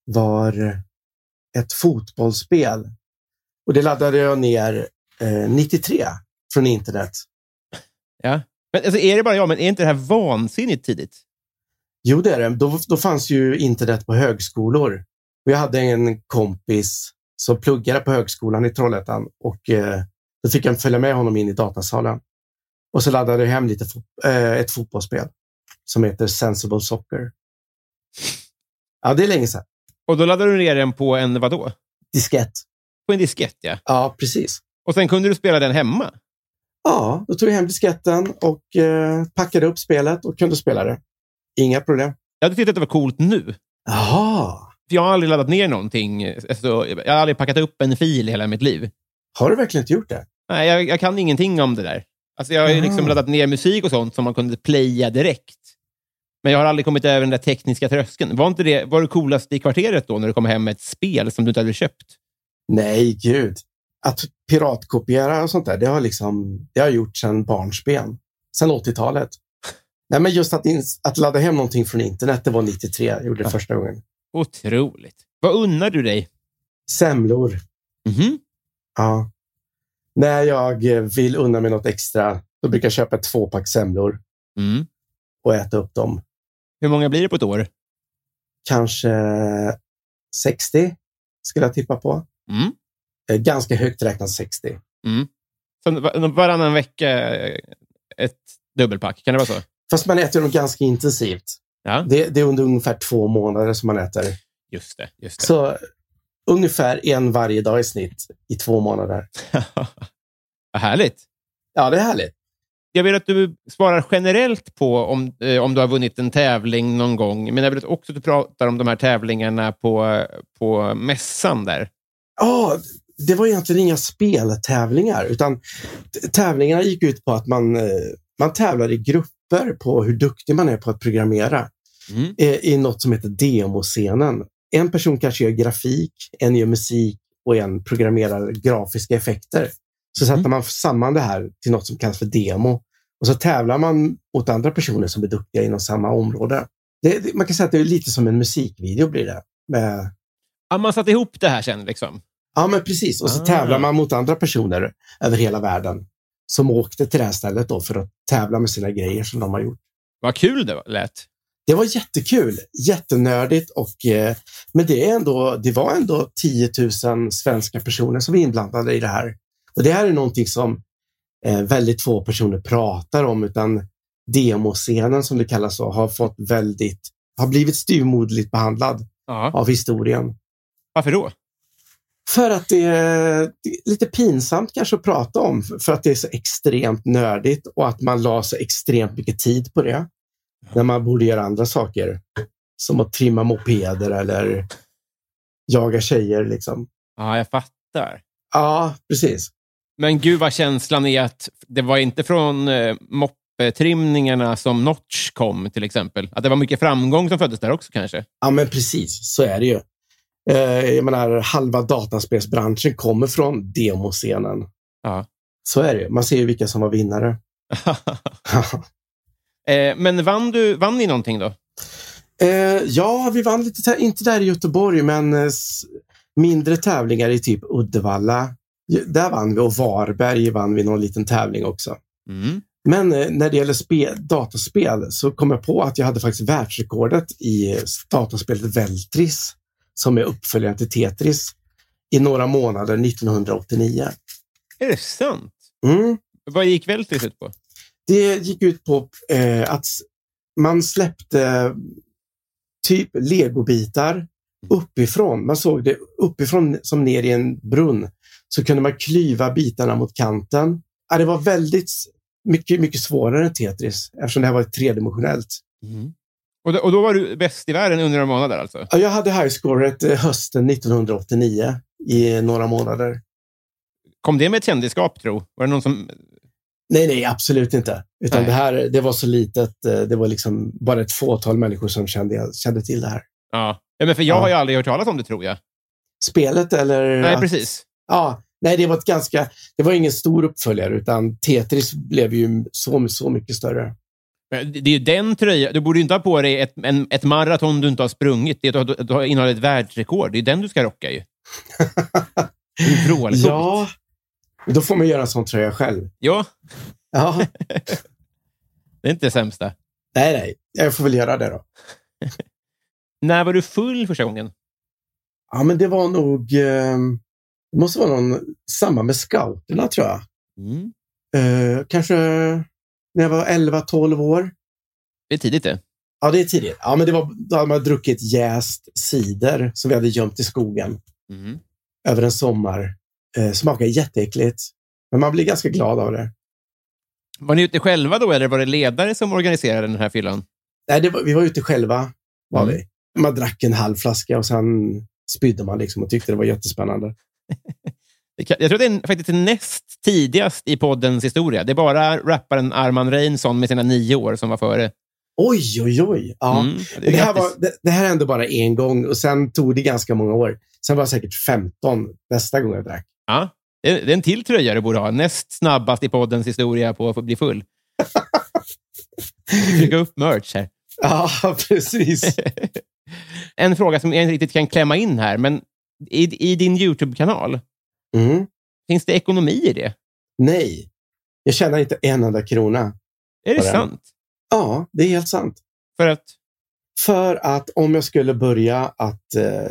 var ett fotbollsspel. Och det laddade jag ner eh, 93 från internet.
Men, alltså, är det bara jag, men är inte det här vansinnigt tidigt?
Jo, det är det. Då, då fanns ju internet på högskolor. Och jag hade en kompis som pluggade på högskolan i Trollhättan och eh, då fick jag följa med honom in i datasalen. Och så laddade jag hem lite fot- eh, ett fotbollsspel som heter Sensible Soccer. Ja, det är länge sedan.
Och då laddade du ner den på en vadå?
Diskett.
På en diskett, ja.
Ja, precis.
Och sen kunde du spela den hemma.
Ja, då tog jag hem disketten och eh, packade upp spelet och kunde spela det. Inga problem.
Jag hade tyckt att det var coolt nu.
Jaha,
För jag har aldrig laddat ner någonting. Alltså, jag har aldrig packat upp en fil i hela mitt liv.
har du verkligen inte gjort det?
Nej, jag, jag kan ingenting om det där. Alltså, jag har ju
Aha.
liksom laddat ner musik och sånt som man kunde playa direkt. Men jag har aldrig kommit över den där tekniska tröskeln. Var inte det, var det coolast i kvarteret då, när du kom hem med ett spel som du inte hade köpt?
Nej, gud. Att piratkopiera och sånt där, det har, liksom, det har jag gjort sedan barnsben. Sedan 80-talet. Nej, men just att, ins- att ladda hem någonting från internet, det var 93. Jag gjorde det
Ja.
första gången.
Otroligt. Vad unnar du dig?
Semlor.
Mhm.
Ja. När jag eh, vill unna mig något extra, då brukar jag köpa ett tvåpack semlor
Mm.
och äta upp dem.
Hur många blir det på ett år?
Kanske 60 skulle jag tippa på.
Mm.
Eh, Ganska högt räknat 60.
Så va- varannan vecka eh, ett dubbelpack. Kan det vara så?
Fast man äter dem ganska intensivt.
Ja,
Det, det är under ungefär två månader som man äter.
just det. Just det.
Så ungefär en varje dag i snitt i två månader.
(laughs) Vad härligt.
Ja, det är härligt.
Jag vill att du svarar generellt på om, eh, om du har vunnit en tävling någon gång, men jag vill också att du pratar om de här tävlingarna på, på mässan där.
Ja, det var egentligen inga speltävlingar, utan t- tävlingarna gick ut på att man, eh, man tävlar i grupper på hur duktig man är på att programmera
Mm.
eh, i något som heter demoscenen. En person kanske gör grafik, en gör musik och en programmerar grafiska effekter. Så sätter man samman det här till något som kallas för demo. Och så tävlar man mot andra personer som är duktiga inom samma område. Det, det, man kan säga att det är lite som en musikvideo blir det. Med,
Ja, man satte ihop det här sen. Liksom.
Ja, men precis. Och så
Ah.
tävlar man mot andra personer över hela världen som åkte till det här stället då för att tävla med sina grejer som de har gjort.
Vad kul det var- lät.
Det var jättekul, jättenördigt och eh, men det, är ändå, det var ändå 10 000 svenska personer som är inblandade i det här. Och det här är någonting som eh, väldigt få personer pratar om utan demoscenen som det kallas så, har fått väldigt, har blivit styvmoderligt behandlad
Ja.
av historien.
Varför då?
För att det är lite pinsamt kanske att prata om, för att det är så extremt nördigt och att man la så extremt mycket tid på det. När man borde göra andra saker. Som att trimma mopeder eller jaga tjejer. Liksom.
Ja, jag fattar.
Ja, precis.
Men gud vad känslan är att det var inte från eh, moppetrimningarna som Notch kom, till exempel. Att det var mycket framgång som föddes där också (laughs) kanske.
Ja, men precis. Så är det ju. Eh, jag menar, halva dataspelsbranschen kommer från demoscenen.
Ja.
Så är det ju. Man ser ju vilka som var vinnare. (laughs)
eh, men vann, du, vann ni någonting då?
Eh, ja, vi vann lite, tä- inte där i Göteborg, men eh, s- mindre tävlingar i typ Uddevalla. Ju- Där vann vi och Varberg vann vi någon liten tävling också.
Mm.
Men eh, när det gäller spe, dataspel så kom jag på att jag hade faktiskt världsrekordet i eh, dataspelet Veltris, som är uppföljaren till Tetris, i några månader 1989.
Är det sant?
Mm.
Vad gick Veltris ut på?
Det gick ut på eh, att s- man släppte typ legobitar uppifrån. Man såg det uppifrån som ner i en brunn. Så kunde man klyva bitarna mot kanten. Ja, det var väldigt s- mycket, mycket svårare än Tetris eftersom det här var tredimensionellt.
Mm. Och, då, och då var du bäst i världen under några månader alltså?
Ja, Jag hade highscoret eh, hösten 1989 i några månader.
Kom det med ett kändisskap, tro? Var det någon som...
Nej, nej, absolut inte. Utan
Nej.
det här det var så litet. eh, Det var liksom bara ett fåtal människor som kände, kände till det här.
Ja, ja men för jag
Ja.
har ju aldrig hört talas om det, tror jag.
Spelet eller?
Nej,
att-
precis.
Ja, nej, det var ett ganska... Det var ingen stor uppföljare, utan Tetris blev ju så, så mycket större.
Men Det det är ju den tröjan. Du borde ju inte ha på dig ett, en, ett maraton du inte har sprungit. Det är att du, du har innehållit ett världsrekord. Det är den du ska rocka
(laughs)
ju. Det är ju vrålcoolt.
Ja, då får man göra en sån tröja själv.
ja,
Ja,
det är inte det sämsta.
(laughs) nej, nej. Jag får väl göra det då.
När var du full första gången?
Ja, men det var nog... Eh, det måste vara någon samma med scouterna, tror jag.
Mm.
Eh, kanske när jag var 11-12 år.
Det är tidigt det.
Ja, det är tidigt. Ja, men det var, då hade man druckit jäst cider som vi hade gömt i skogen.
Mm.
över en sommar. Eh, smakar jätteäckligt, men man blir ganska glad av det.
Var ni ute själva då, eller var det ledare som organiserade den här fyllan?
Nej, det var, vi var ute själva. Var
Mm.
vi. Man drack en halv flaska och sen spydde man liksom och tyckte det var jättespännande.
Det kan- Jag tror att det är faktiskt det näst tidigast i poddens historia. Det är bara rapparen Arman Reinsson med sina nio år som var före.
Oj, oj, oj. Ja.
Mm.
Det, här
Grattis.
var, det, det här hände bara en gång och sen tog det ganska många år. Sen var jag säkert 15 nästa gång
(laughs)
jag drack.
Ja, det är det är en till tröja du borde ha. Näst snabbast i poddens historia på att få bli full. Trycka upp merch här.
Ja, precis.
(laughs) en fråga som jag inte riktigt kan klämma in här, men i, i din YouTube-kanal,
Mm.
finns det ekonomi i det?
Nej, jag tjänar inte en enda krona.
Är det
Vad är det?
sant?
Ja, det är helt sant.
För att...
För att om jag skulle börja att eh,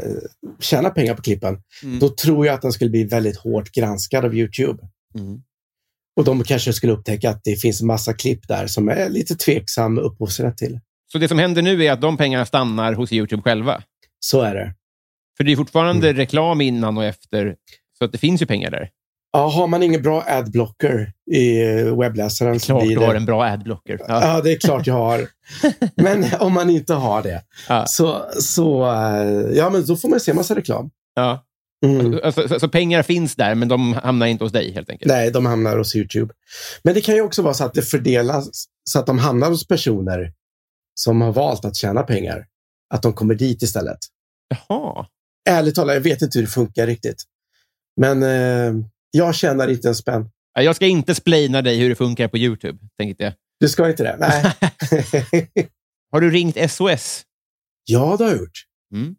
tjäna pengar på klippen,
Mm.
då tror jag att den skulle bli väldigt hårt granskad av Youtube.
Mm.
Och de kanske skulle upptäcka att det finns en massa klipp där som är lite tveksam upphovsrätt till.
Så det som händer nu är att de pengarna stannar hos Youtube själva?
Så är det.
För det är fortfarande reklam innan och efter, så att det finns ju pengar där.
Ja, har man ingen bra adblocker i eh, webbläsaren så
Klart
blir
du
det...
har en bra adblocker. Ja. (laughs)
Ja, det är klart jag har. Men om man inte har det
Ja.
så, så eh, ja, men då får man se massa reklam.
Ja.
Mm.
Alltså, så, så pengar finns där, men de hamnar inte hos dig helt enkelt.
Nej, de hamnar hos Youtube. Men det kan ju också vara så att det fördelas så att de hamnar hos personer som har valt att tjäna pengar. Att de kommer dit istället.
Jaha.
Ärligt talat, jag vet inte hur det funkar riktigt. Men eh, jag tjänar inte en spänn.
Ja, Jag ska inte splaina dig hur det funkar på Youtube, tänkte jag.
Du ska inte det? Nej.
(laughs)
(laughs)
Har du ringt SOS?
ja, det har jag gjort.
Mm.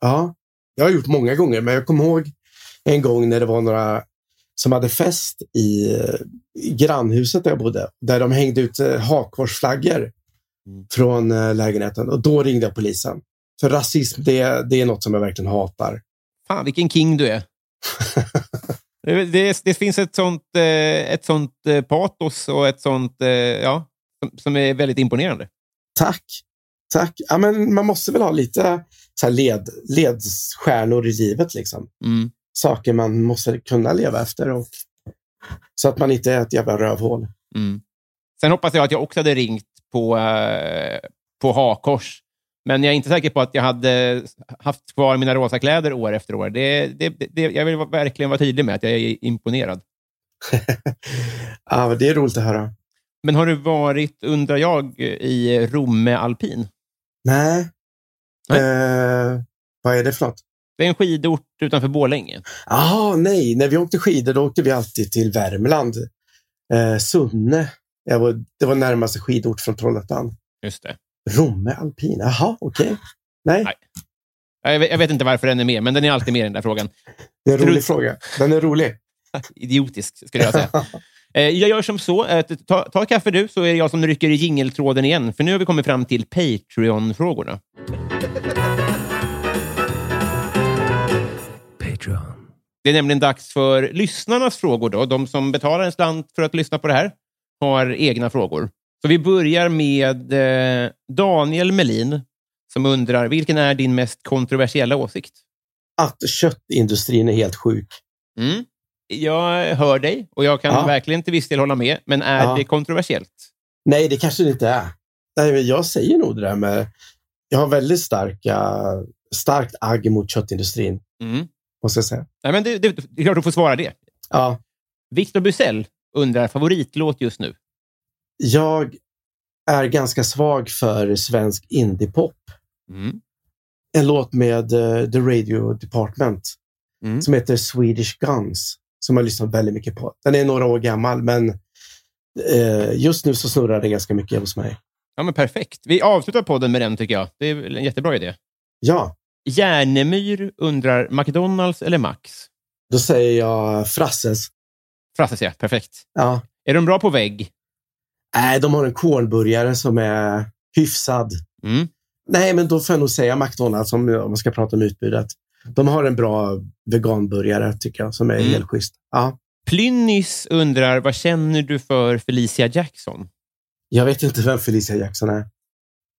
Ja, jag har gjort många gånger, men jag kommer ihåg en gång när det var några som hade fest i, eh, i grannhuset där jag bodde, där de hängde ut eh, hakkorsflaggor
Mm.
från eh, lägenheten. Och då ringde jag polisen. För rasism, det, det är något som jag verkligen hatar.
Fan, vilken king du är. (laughs) det, det, det finns ett sånt, eh, ett sånt eh, patos och ett sånt, eh, ja, som, som är väldigt imponerande.
Tack! Tack! Ja, men man måste väl ha lite så här led, ledstjärnor i livet. Liksom.
Mm.
Saker man måste kunna leva efter. Och, så att man inte är ett jävla rövhål.
Mm. Sen hoppas jag att jag också hade ringt på, eh, på hakors. Men jag är inte säker på att jag hade haft kvar mina rosa kläder år efter år. Det, det, det, jag vill verkligen vara tydlig med att jag är imponerad.
ja, men det är roligt att höra.
Men har du varit, undrar jag, i Romme alpin?
Nej.
Nej.
Eh, vad är det för något?
Det är en skidort utanför Borlänge.
Jaha, nej. När vi åkte skidor då åkte vi alltid till Värmland. Eh, Sunne. Jag var, det var närmaste skidort från Trollhättan.
Just det.
Romme alpin. Jaha, okej. Nej,
Nej. Jag vet, jag vet inte varför den är med, men den är alltid med i den där frågan.
det är en rolig
Trut.
fråga. Den är rolig.
Idiotisk, skulle jag säga. Eh, Jag gör som så. eh, Ta, ta kaffe du, så är det jag som rycker i jingeltråden igen. För nu har vi kommit fram till Patreon-frågorna.
Patreon.
Det är nämligen dags för lyssnarnas frågor. Då. De som betalar en slant för att lyssna på det här har egna frågor. Så vi börjar med eh, Daniel Melin som undrar vilken är din mest kontroversiella åsikt?
Att köttindustrin är helt sjuk.
Mm. Jag hör dig och jag kan
Ja.
verkligen till viss del hålla med, men är
Ja.
det kontroversiellt?
Nej, det kanske det inte är. Nej, men jag säger nog det där med... Jag har väldigt starka, starkt agg mot köttindustrin,
Mm.
måste jag säga.
Nej, men det, det, det är klart du får svara det.
Ja,
Victor Busell undrar favoritlåt just nu.
jag är ganska svag för svensk indiepop.
Mm.
en låt med eh, The Radio Department
Mm.
som heter Swedish Guns, som jag lyssnat väldigt mycket på. Den är några år gammal, men eh, just nu så snurrar det ganska mycket hos mig.
Ja, men perfekt. Vi avslutar podden med den, tycker jag. Det är väl en jättebra idé.
Ja,
Järnemyr undrar McDonalds eller Max?
då säger jag Frasses.
Frasse säger jag. Perfekt.
Ja.
Är de bra på vägg?
Nej, de har en kornburgare som är hyfsad.
Mm.
Nej, men då får jag nog säga McDonalds om, om man ska prata om utbudet. De har en bra veganburgare tycker jag, som är
Mm.
helt schysst. Ja,
Plynnis undrar, vad känner du för Felicia Jackson?
jag vet inte vem Felicia Jackson är.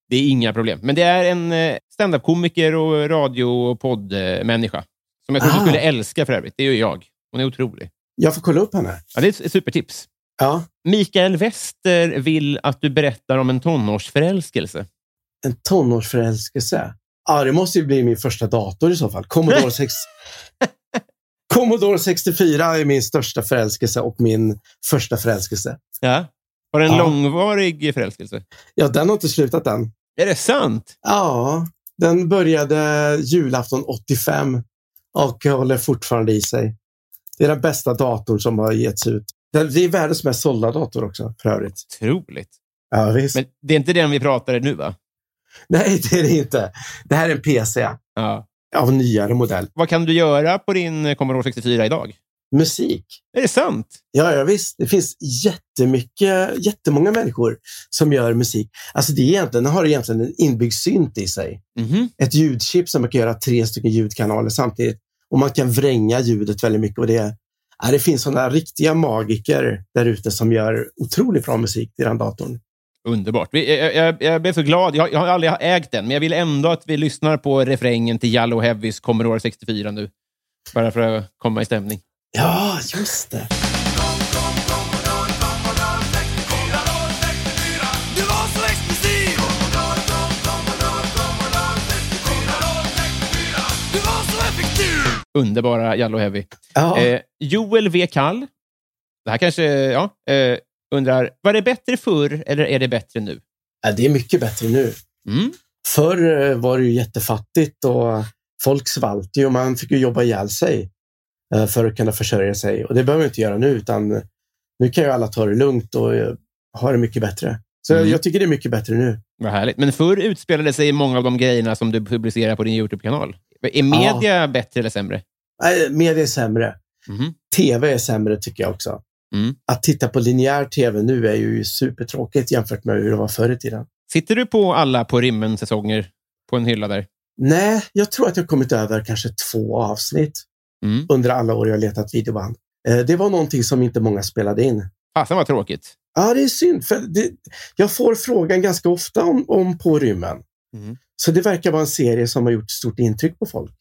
Det är inga problem. Men det är en eh, standup-komiker och radio och poddmänniska. Som jag tror
Ah.
du skulle älska för övrigt. Det är ju jag. Hon är otrolig.
Jag får kolla upp henne.
Ja, det är ett ett supertips.
Ja.
Mikael Wester vill att du berättar om en tonårsförälskelse.
en tonårsförälskelse. Ja, det måste ju bli min första dator i så fall. Commodore, 6... Commodore 64 är min största förälskelse och min första förälskelse.
Ja. Var det en
Ja.
långvarig förälskelse?
Ja, den har inte slutat än.
Är det sant?
Ja, den började julafton 85 och håller fortfarande i sig. Det är den bästa datorn som har getts ut. Den- Det är världens mest sålda dator också, för övrigt.
Otroligt.
Ja, visst.
Men det är inte den vi pratar nu, va?
Nej, det är det inte. Det här är en PC
Ja.
av nyare modell.
Vad kan du göra på din eh, Commodore 64 idag?
Musik.
Är det sant?
Ja, ja visst. Det finns jättemycket, jättemånga människor som gör musik. Alltså det är egentligen, den har egentligen en inbyggd synt i sig.
Mhm.
Ett ljudchip som man kan göra tre stycken ljudkanaler samtidigt. Och man kan vränga ljudet väldigt mycket. Och det, ja, det finns sådana riktiga magiker där ute som gör otroligt bra musik i den datorn.
Underbart. Vi- Jag, jag, jag blev så glad. Jag, jag har aldrig ägt den, men jag vill ändå att vi lyssnar på refrängen till Yellow Heavys Commodore 64 nu. Bara för att komma i stämning.
Ja, just det.
Underbara Jallo Heavy.
Ja.
Eh, Joel V. Kall. Det här kanske, ja, eh, undrar, var det bättre förr eller är det bättre nu?
Ja, Äh, det är mycket bättre nu.
Mm.
Förr eh, var det ju jättefattigt och folk svalt ju och man fick ju jobba ihjäl sig eh, för att kunna försörja sig. Och det behöver man inte göra nu, utan nu kan ju alla ta det lugnt och eh, ha det mycket bättre. Så
Mm.
jag tycker det är mycket bättre nu.
Vad härligt. Men förr utspelade sig många av de grejerna som du publicerar på din YouTube-kanal. Är media bättre eller sämre?
Nej, Media är sämre.
Mhm.
Tv är sämre tycker jag också.
Mm.
Att titta på linjär tv nu är ju supertråkigt jämfört med hur det var förr i tiden.
Sitter du på alla På rymmen-säsonger på en hylla där?
Nej, jag tror att jag kommit över kanske två avsnitt
Mm.
under alla år jag letat videoband. Eh, Det var någonting som inte många spelade in.
Fasen vad tråkigt.
Ja, det är synd. För det, jag får frågan ganska ofta om, om På rymmen.
Mm.
Så det verkar vara en serie som har gjort stort intryck på folk.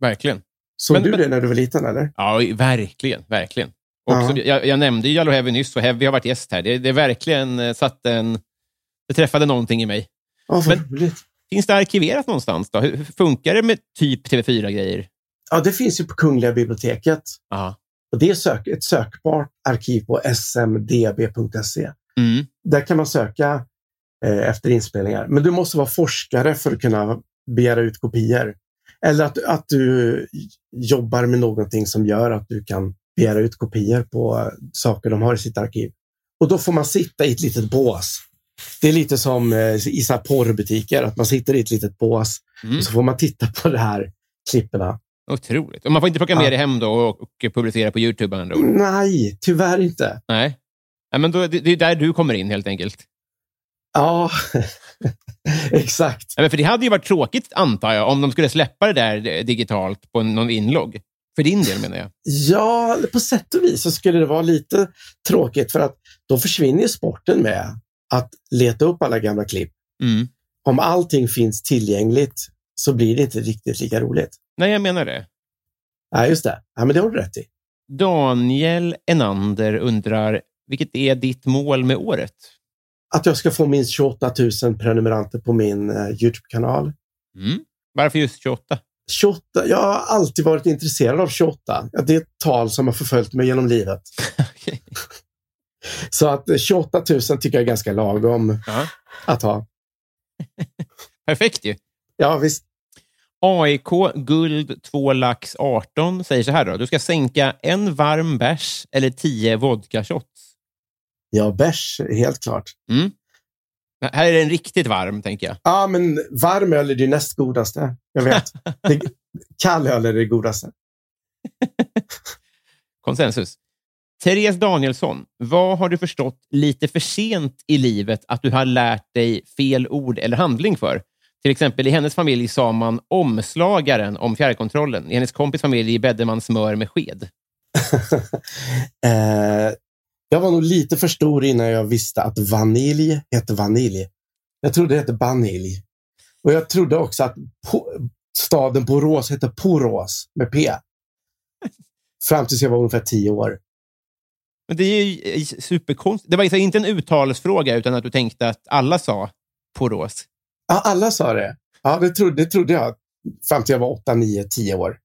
Verkligen.
Såg
Men-
du
men-
det när du var liten? eller?
Ja, verkligen. verkligen. Och
Ja.
som jag, jag nämnde ju Jallow Heavy nyss och Heavy har varit gäst här. Det, det är verkligen eh, satt en... Det träffade någonting i mig.
Ja, vad
Men-
roligt.
Finns det arkiverat någonstans? Då? Hur hur funkar det med typ TV4-grejer?
Ja, det finns ju på Kungliga biblioteket.
Ja.
Och det är sök, ett sökbart arkiv på smdb.se.
Mm.
Där kan man söka eh, efter inspelningar. Men du måste vara forskare för att kunna begära ut kopior. Eller att, att du jobbar med någonting som gör att du kan begära ut kopior på eh, saker de har i sitt arkiv. Och då får man sitta i ett litet bås. Det är lite som eh, i så här porrbutiker, att man sitter i ett litet bås
Mm.
och så får man titta på de här klipperna.
Otroligt. Och man får inte plocka
Ja.
med det hem då och, och publicera på YouTube med andra ord?
Nej, tyvärr inte.
Nej. Nej men då, det, det är där du kommer in helt enkelt.
Ja, (laughs) exakt.
Nej, men för Det hade ju varit tråkigt, antar jag, om de skulle släppa det där eh, digitalt på någon inlogg. För din del, menar jag.
Ja, på sätt och vis så skulle det vara lite tråkigt för att då försvinner ju sporten med att leta upp alla gamla klipp.
Mm.
Om allting finns tillgängligt så blir det inte riktigt lika roligt.
Nej, jag menar det.
Ja, just det. Ja, men det har du rätt i.
Daniel Enander undrar, vilket är ditt mål med året?
Att jag ska få minst 28 000 prenumeranter på min eh, Youtube-kanal.
Mm. Varför just 28?
28, jag har alltid varit intresserad av 28. Ja, Det är ett tal som har förföljt mig genom livet.
Okej.
Så att eh, 28 000 tycker jag är ganska lagom
Ja.
att ha.
Perfekt ju.
Ja, visst.
AIK guld 2 lax 18 säger så här då. Du ska sänka en varm bärs eller 10 vodka shots.
Ja, bärs, helt klart.
Här är den riktigt varm, tänker jag.
Ja, men varm öl är det näst godaste. Jag vet. det, kall öl är det godaste. (laughs)
Konsensus. Therese Danielsson, vad har du förstått lite för sent i livet att du har lärt dig fel ord eller handling för? Till exempel i hennes familj sa man omslagaren om fjärrkontrollen. I hennes kompis familj bäddade man smör med sked.
eh, jag var nog lite för stor innan jag visste att vanilj heter vanilj. Jag trodde det hette banilj. Och jag trodde också att po- staden Borås hette Porås med P. Fram tills jag var ungefär tio år.
Men det är ju eh, superkonstigt. Det var liksom inte en uttalsfråga, utan att du tänkte att alla sa Porås.
Ja, alla sa det. Ja, det trodde, det trodde jag fram till jag var åtta, nio, tio år.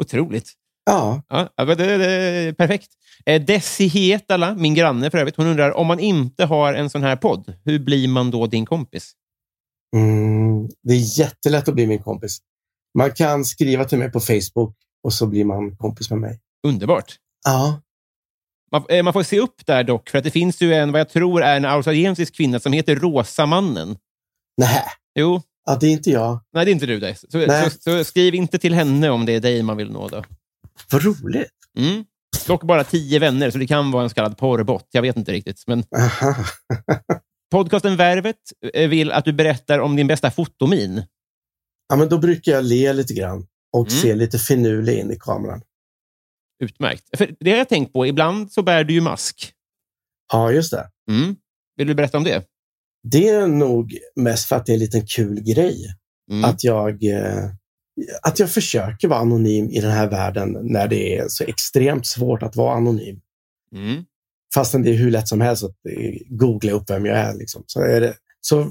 Otroligt.
Ja,
Ja, ja, men det, det, perfekt. Eh, Desi Hietala, min granne för övrigt, hon undrar om man inte har en sån här podd, hur blir man då din kompis?
Mm, det är jättelätt att bli min kompis. Man kan skriva till mig på Facebook och så blir man kompis med mig.
Underbart.
Ja.
Man, eh, man får se upp där dock, för att det finns ju en, vad jag tror är en australiensisk kvinna som heter Rosa mannen.
Nej,
Jo,
ja, det är inte jag.
nej det är inte du det. Så,
Nej.
så, så skriv inte till henne om det är dig man vill nå då.
Vad roligt.
Mm. Dock bara tio vänner, så det kan vara en så kallad porrbot. Jag vet inte riktigt. Men
Aha.
podcasten Värvet eh, vill att du berättar om din bästa fotomin.
Ja, men då brukar jag le lite grann och
Mm.
se lite finurlig in i kameran.
Utmärkt. För det har jag tänkt på, ibland så bär du ju mask.
Ja, just det.
Mm. Vill du berätta om det?
Det är nog mest för att det är en liten kul grej.
Mm.
Att, jag, eh, att jag försöker vara anonym i den här världen när det är så extremt svårt att vara anonym.
Mm.
fastän det är hur lätt som helst att eh, googla upp vem jag är, liksom, så, är det, så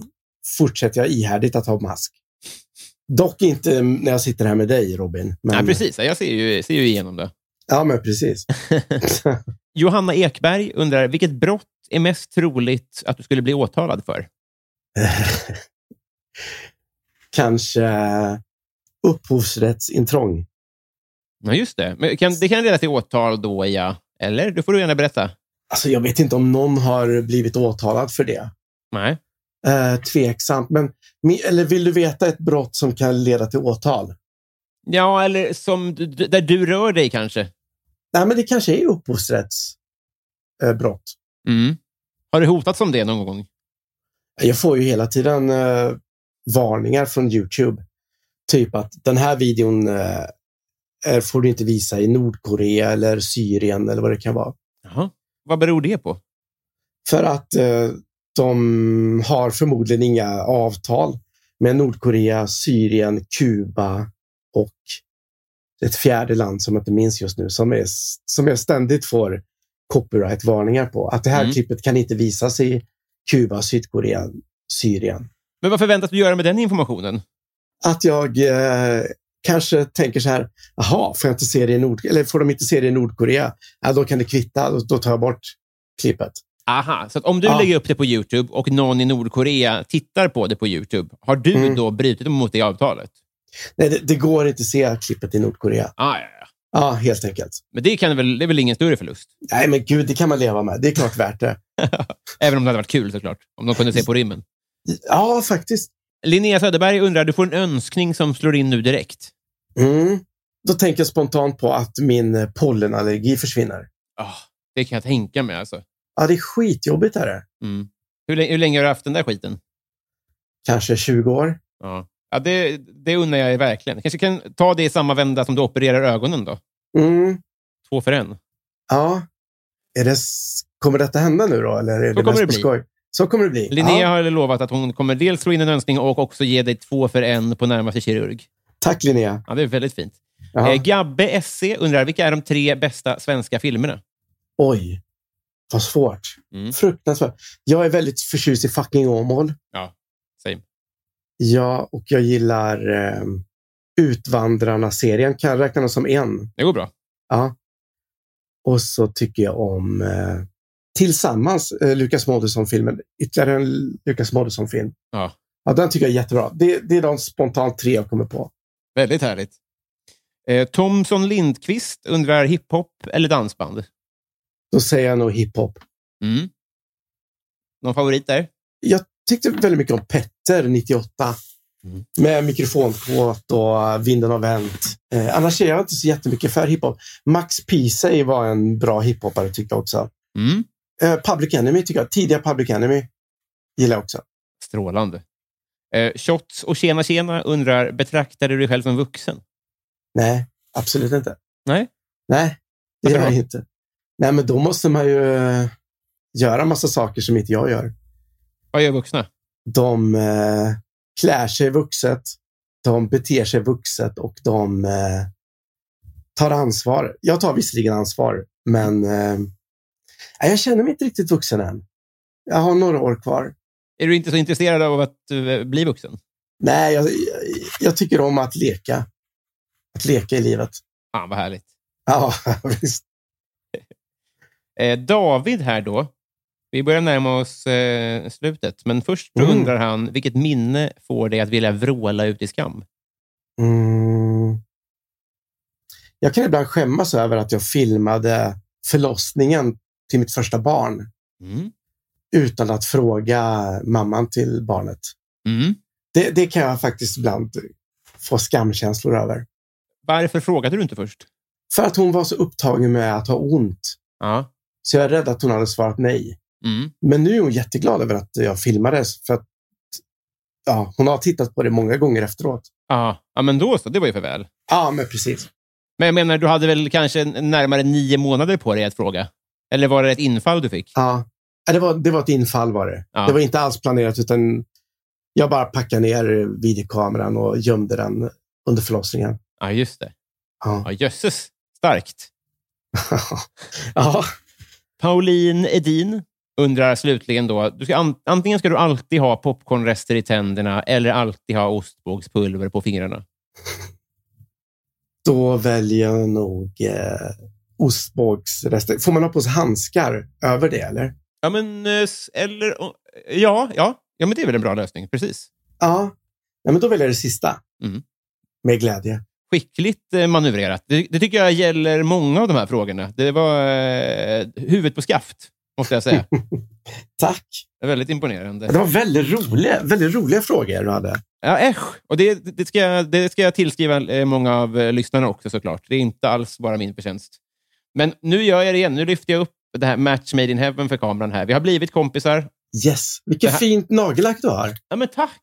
fortsätter jag ihärdigt att ha mask. Dock inte när jag sitter här med dig, Robin. Men,
Nej, precis. Jag ser ju, ser ju igenom det.
Ja, men precis. (laughs)
(laughs) Johanna Ekberg undrar, vilket brott är mest troligt att du skulle bli åtalad för?
Kanske upphovsrättsintrång.
Ja, just det. Men kan, det kan leda till åtal då, ja. Eller? Det får du gärna berätta.
Alltså, jag vet inte om någon har blivit åtalad för det.
Nej.
Eh, tveksamt. Men, mi- eller vill du veta ett brott som kan leda till åtal?
Ja, eller som, du- d- där du rör dig kanske.
Nej, men det kanske är upphovsrättsbrott.
Mm. Har du hotats om det någon gång?
Jag får ju hela tiden eh, varningar från Youtube. Typ att den här videon eh, är- får du inte visa i Nordkorea eller Syrien eller vad det kan vara.
Jaha. Vad beror det på?
För att eh, de har förmodligen inga avtal med Nordkorea, Syrien, Kuba och ett fjärde land som jag inte minns just nu som, är, som jag ständigt får copyright-varningar på. Att det här
Mm.
klippet kan inte visas i Kuba, Sydkorea, Syrien.
Men vad förväntas du göra med den informationen?
Att jag eh, kanske tänker så här, jaha, får, jag inte se det i Nord- eller får de inte se det i Nordkorea? Ja, då kan det kvitta, då, då tar jag bort klippet.
Aha, så att om du
Ja.
lägger upp det på YouTube och någon i Nordkorea tittar på det på YouTube, har du
Mm.
då brutit mot det avtalet?
Nej, det, det går inte att se klippet i Nordkorea.
Ah, ja, ja.
Ja, helt enkelt.
Men det, kan väl, det är väl ingen större förlust?
Nej, men gud, det kan man leva med. Det är klart värt det.
Även om det hade varit kul såklart, om de kunde se på rimmen.
Ja, faktiskt.
Linnea Söderberg undrar, du får en önskning som slår in nu direkt.
Mm. Då tänker jag spontant på att min eh, pollenallergi försvinner.
Ah, det kan jag tänka mig alltså.
Ja, det är skitjobbigt. Är det.
Mm. Hur, länge, hur länge har du haft den där skiten?
Kanske 20 år.
Ja. Ja, det, det undrar jag verkligen. Kanske kan ta det i samma vända som du opererar ögonen då?
Mm.
Två för en.
Ja. Är det... s- Kommer detta hända nu då? Eller är det
kommer
mest
det
på
bli.
Skoj? Så kommer det bli.
Linnea
Ja.
har lovat att hon kommer dels slå in en önskning och också ge dig två för en på närmaste kirurg.
Tack Linnea.
Ja, det är väldigt fint.
Jaha.
Eh, Gabbe SC undrar, vilka är de tre bästa svenska filmerna?
Oj, vad svårt.
Mm.
Fruktansvärt. Jag är väldigt förtjust i fucking Åmål.
Same.
Ja, och jag gillar eh, Utvandrarna-serien. Kan jag räkna den som en?
Det går bra.
Ja. Och så tycker jag om eh, Tillsammans, eh, Lukas Moodysson-filmen. Ytterligare en Lukas Moodysson-film.
Ja.
Ja, den tycker jag är jättebra. Det, det är de spontant tre jag kommer på.
Väldigt härligt. Eh, Thomson Lindqvist undrar, hiphop eller dansband?
Då säger jag nog hiphop.
Mm. Någon favorit där?
Jag tyckte väldigt mycket om Petter 98.
Mm.
Med mikrofonkåt och Vinden har vänt. Eh, annars är jag inte så jättemycket för hiphop. Max Peasy var en bra hiphopare tycker jag också.
Mm.
Eh, Public Enemy tycker jag. Tidiga Public Enemy gillar jag också.
Strålande. Eh, Shots och Tjena Tjena undrar, betraktar du dig själv som vuxen?
Nej, absolut inte.
Nej?
Nej, det
Varför
gör jag
då?
inte. Nej, men då måste man ju eh, göra massa saker som inte jag gör.
Vad gör vuxna?
De eh, klär sig vuxet, de beter sig vuxet och de eh, tar ansvar. Jag tar visserligen ansvar, men eh, nej, jag känner mig inte riktigt vuxen än. Jag har några år kvar.
Är du inte så intresserad av att eh, bli vuxen?
Nej, jag, jag, jag tycker om att leka. Att leka i livet.
Fan, vad härligt.
Ja, (laughs) visst.
Eh, David här då. Vi börjar närma oss eh, slutet, men först så
Mm.
undrar han vilket minne får dig att vilja vråla ut i skam?
Mm. Jag kan ibland skämmas över att jag filmade förlossningen till mitt första barn
Mm.
utan att fråga mamman till barnet.
Mm.
Det, det kan jag faktiskt ibland få skamkänslor över.
Varför frågade du inte först?
För att hon var så upptagen med att ha ont.
Ja.
Så jag är rädd att hon hade svarat nej.
Mm.
Men nu är hon jätteglad över att jag filmade. För att, ja, hon har tittat på det många gånger efteråt.
Ja. ja, men då så. Det var ju för väl.
Ja, men precis.
Men jag menar, du hade väl kanske n- närmare nio månader på dig att fråga? Eller var det ett infall du fick?
Ja. Ja, Det var, det var ett infall var det.
Ja.
Det var inte alls planerat utan jag bara packade ner videokameran och gömde den under (laughs) förlossningen.
Ja, just det.
Ja.
Ja, jösses. Starkt.
ja.
Pauline Edin undrar slutligen då, du ska an, antingen ska du alltid ha popcornrester i tänderna eller alltid ha ostbågspulver på fingrarna.
Då väljer jag nog eh, ostbågsrester. Får man ha på sig handskar över det eller?
Ja, men eh, s- eller... oh, Ja, ja. Ja, men det är väl en bra lösning. Precis.
Ja, Nej, men då väljer jag det sista.
Mm.
Med glädje.
Skickligt eh, manövrerat. Det, det tycker jag gäller många av de här frågorna. Det var eh, huvudet på skaft, måste jag säga.
Tack!
Det är väldigt imponerande.
Det var väldigt roliga, väldigt roliga frågor du hade.
Ja, äsch. Och det, det, ska jag, det ska jag tillskriva eh, många av eh, lyssnarna också såklart. Det är inte alls bara min förtjänst. Men nu gör jag det igen. Nu lyfter jag upp det här Match Made in Heaven för kameran här. Vi har blivit kompisar.
Yes, vilket
Det här-
fint nagellack du har.
Ja, men tack!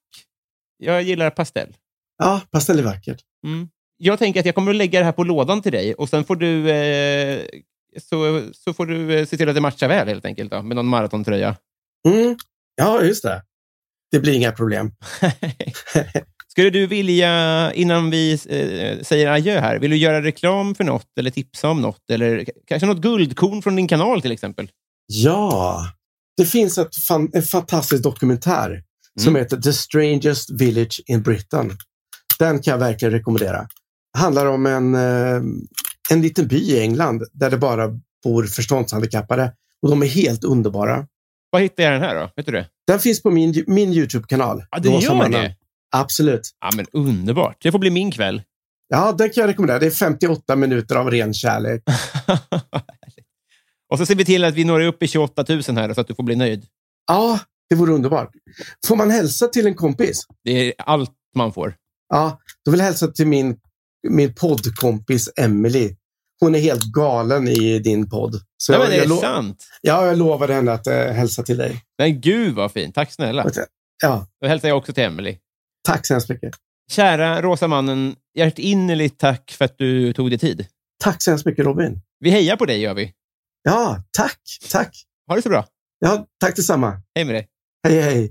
Jag gillar pastell.
Ja, pastell är vackert.
Mm. Jag tänker att jag kommer att lägga det här på lådan till dig och sen får du, eh, så, så får du eh, se till att det matchar väl helt enkelt då, med någon maratontröja.
Mm. Ja, just det. Det blir inga problem.
(laughs) Skulle du vilja, innan vi eh, säger adjö här, vill du göra reklam för något eller tipsa om något? Eller k- kanske något guldkorn från din kanal till exempel?
Ja, det finns ett fan, en fantastisk dokumentär som
Mm.
heter The Strangest Village in Britain. Den kan jag verkligen rekommendera. Det handlar om en, eh, en liten by i England där det bara bor förståndshandikappade och de är helt underbara.
Var hittar jag den här då? Vet du det?
Den finns på min, min Youtube-kanal.
Ja, det
Rosa
gör
Mannen.
det.
Absolut.
Ja, men underbart. Det får bli min
(laughs)
kväll.
Ja, den kan jag rekommendera. Det är 58 minuter av ren kärlek.
och så ser vi till att vi når upp i 28 000 här så att du får bli nöjd.
Ja, det vore underbart. Får man hälsa till en kompis?
Det är allt man får.
Ja, då vill jag hälsa till min, min poddkompis Emily. Hon är helt galen i din podd. Så
Nej,
jag,
men är
jag,
det
lo-
sant?
ja, jag lovade henne att eh, hälsa till dig.
Men gud vad fint. Tack snälla.
Ja,
Då hälsar jag också till Emelie.
tack så hemskt mycket.
Kära rosa mannen, hjärtinnerligt tack för att du tog dig tid.
Tack så hemskt mycket Robin.
Vi hejar på dig gör vi.
Ja, tack. Tack.
Ha det så bra.
Ja, tack detsamma.
Hej med dig.
Hej, hej.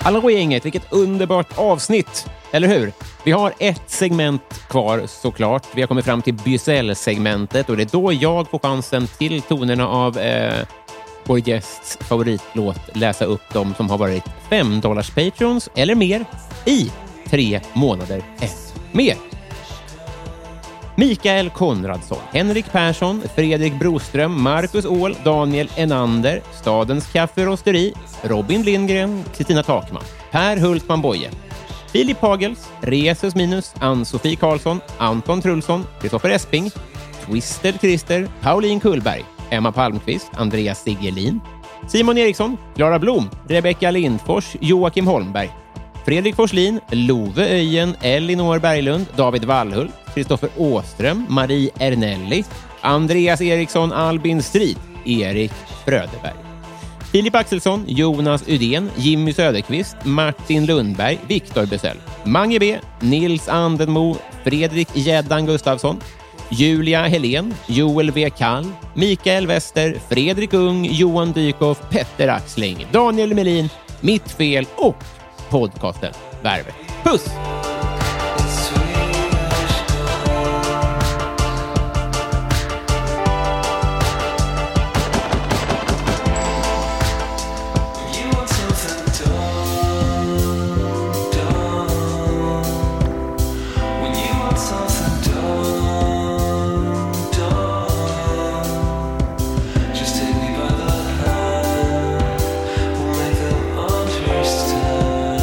Hallå gänget, vilket underbart avsnitt! Eller hur? Vi har ett segment kvar såklart. Vi har kommit fram till Bysell-segmentet och det är då jag får chansen till tonerna av eh, vår gästs favoritlåt läsa upp de som har varit 5 dollars patrons eller mer i tre månader eller mer. Mikael Konradsson, Henrik Persson, Fredrik Broström, Marcus Åhl, Daniel Enander, Stadens Kaffe och Rosteri, Robin Lindgren, Kristina Takman, Per Hultman Boye, Filip Hagels, Resus Minus, Ann-Sofie Karlsson, Anton Trulsson, Kristoffer Esping, Twister Christer, Pauline Kullberg, Emma Palmqvist, Andreas Sigelin, Simon Eriksson, Klara Blom, Rebecka Lindfors, Joakim Holmberg, Fredrik Forslin, Love Öjen, Elinor Berglund, David Wallhult, Kristoffer Åström, Marie Ernelli, Andreas Eriksson, Albin Strid, Erik Fröderberg. Filip Axelsson, Jonas Uden, Jimmy Söderqvist, Martin Lundberg, Viktor Bysell, Mange B, Nils Andenmo, Fredrik Gäddan Gustafsson, Julia Helén, Joel W. Kall, Mikael Wester, Fredrik Ung, Johan Dykhoff, Petter Axling, Daniel Melin, Mitt Fel och podcasten Värvet. Puss!
Just take me by the hand, we'll make them understand.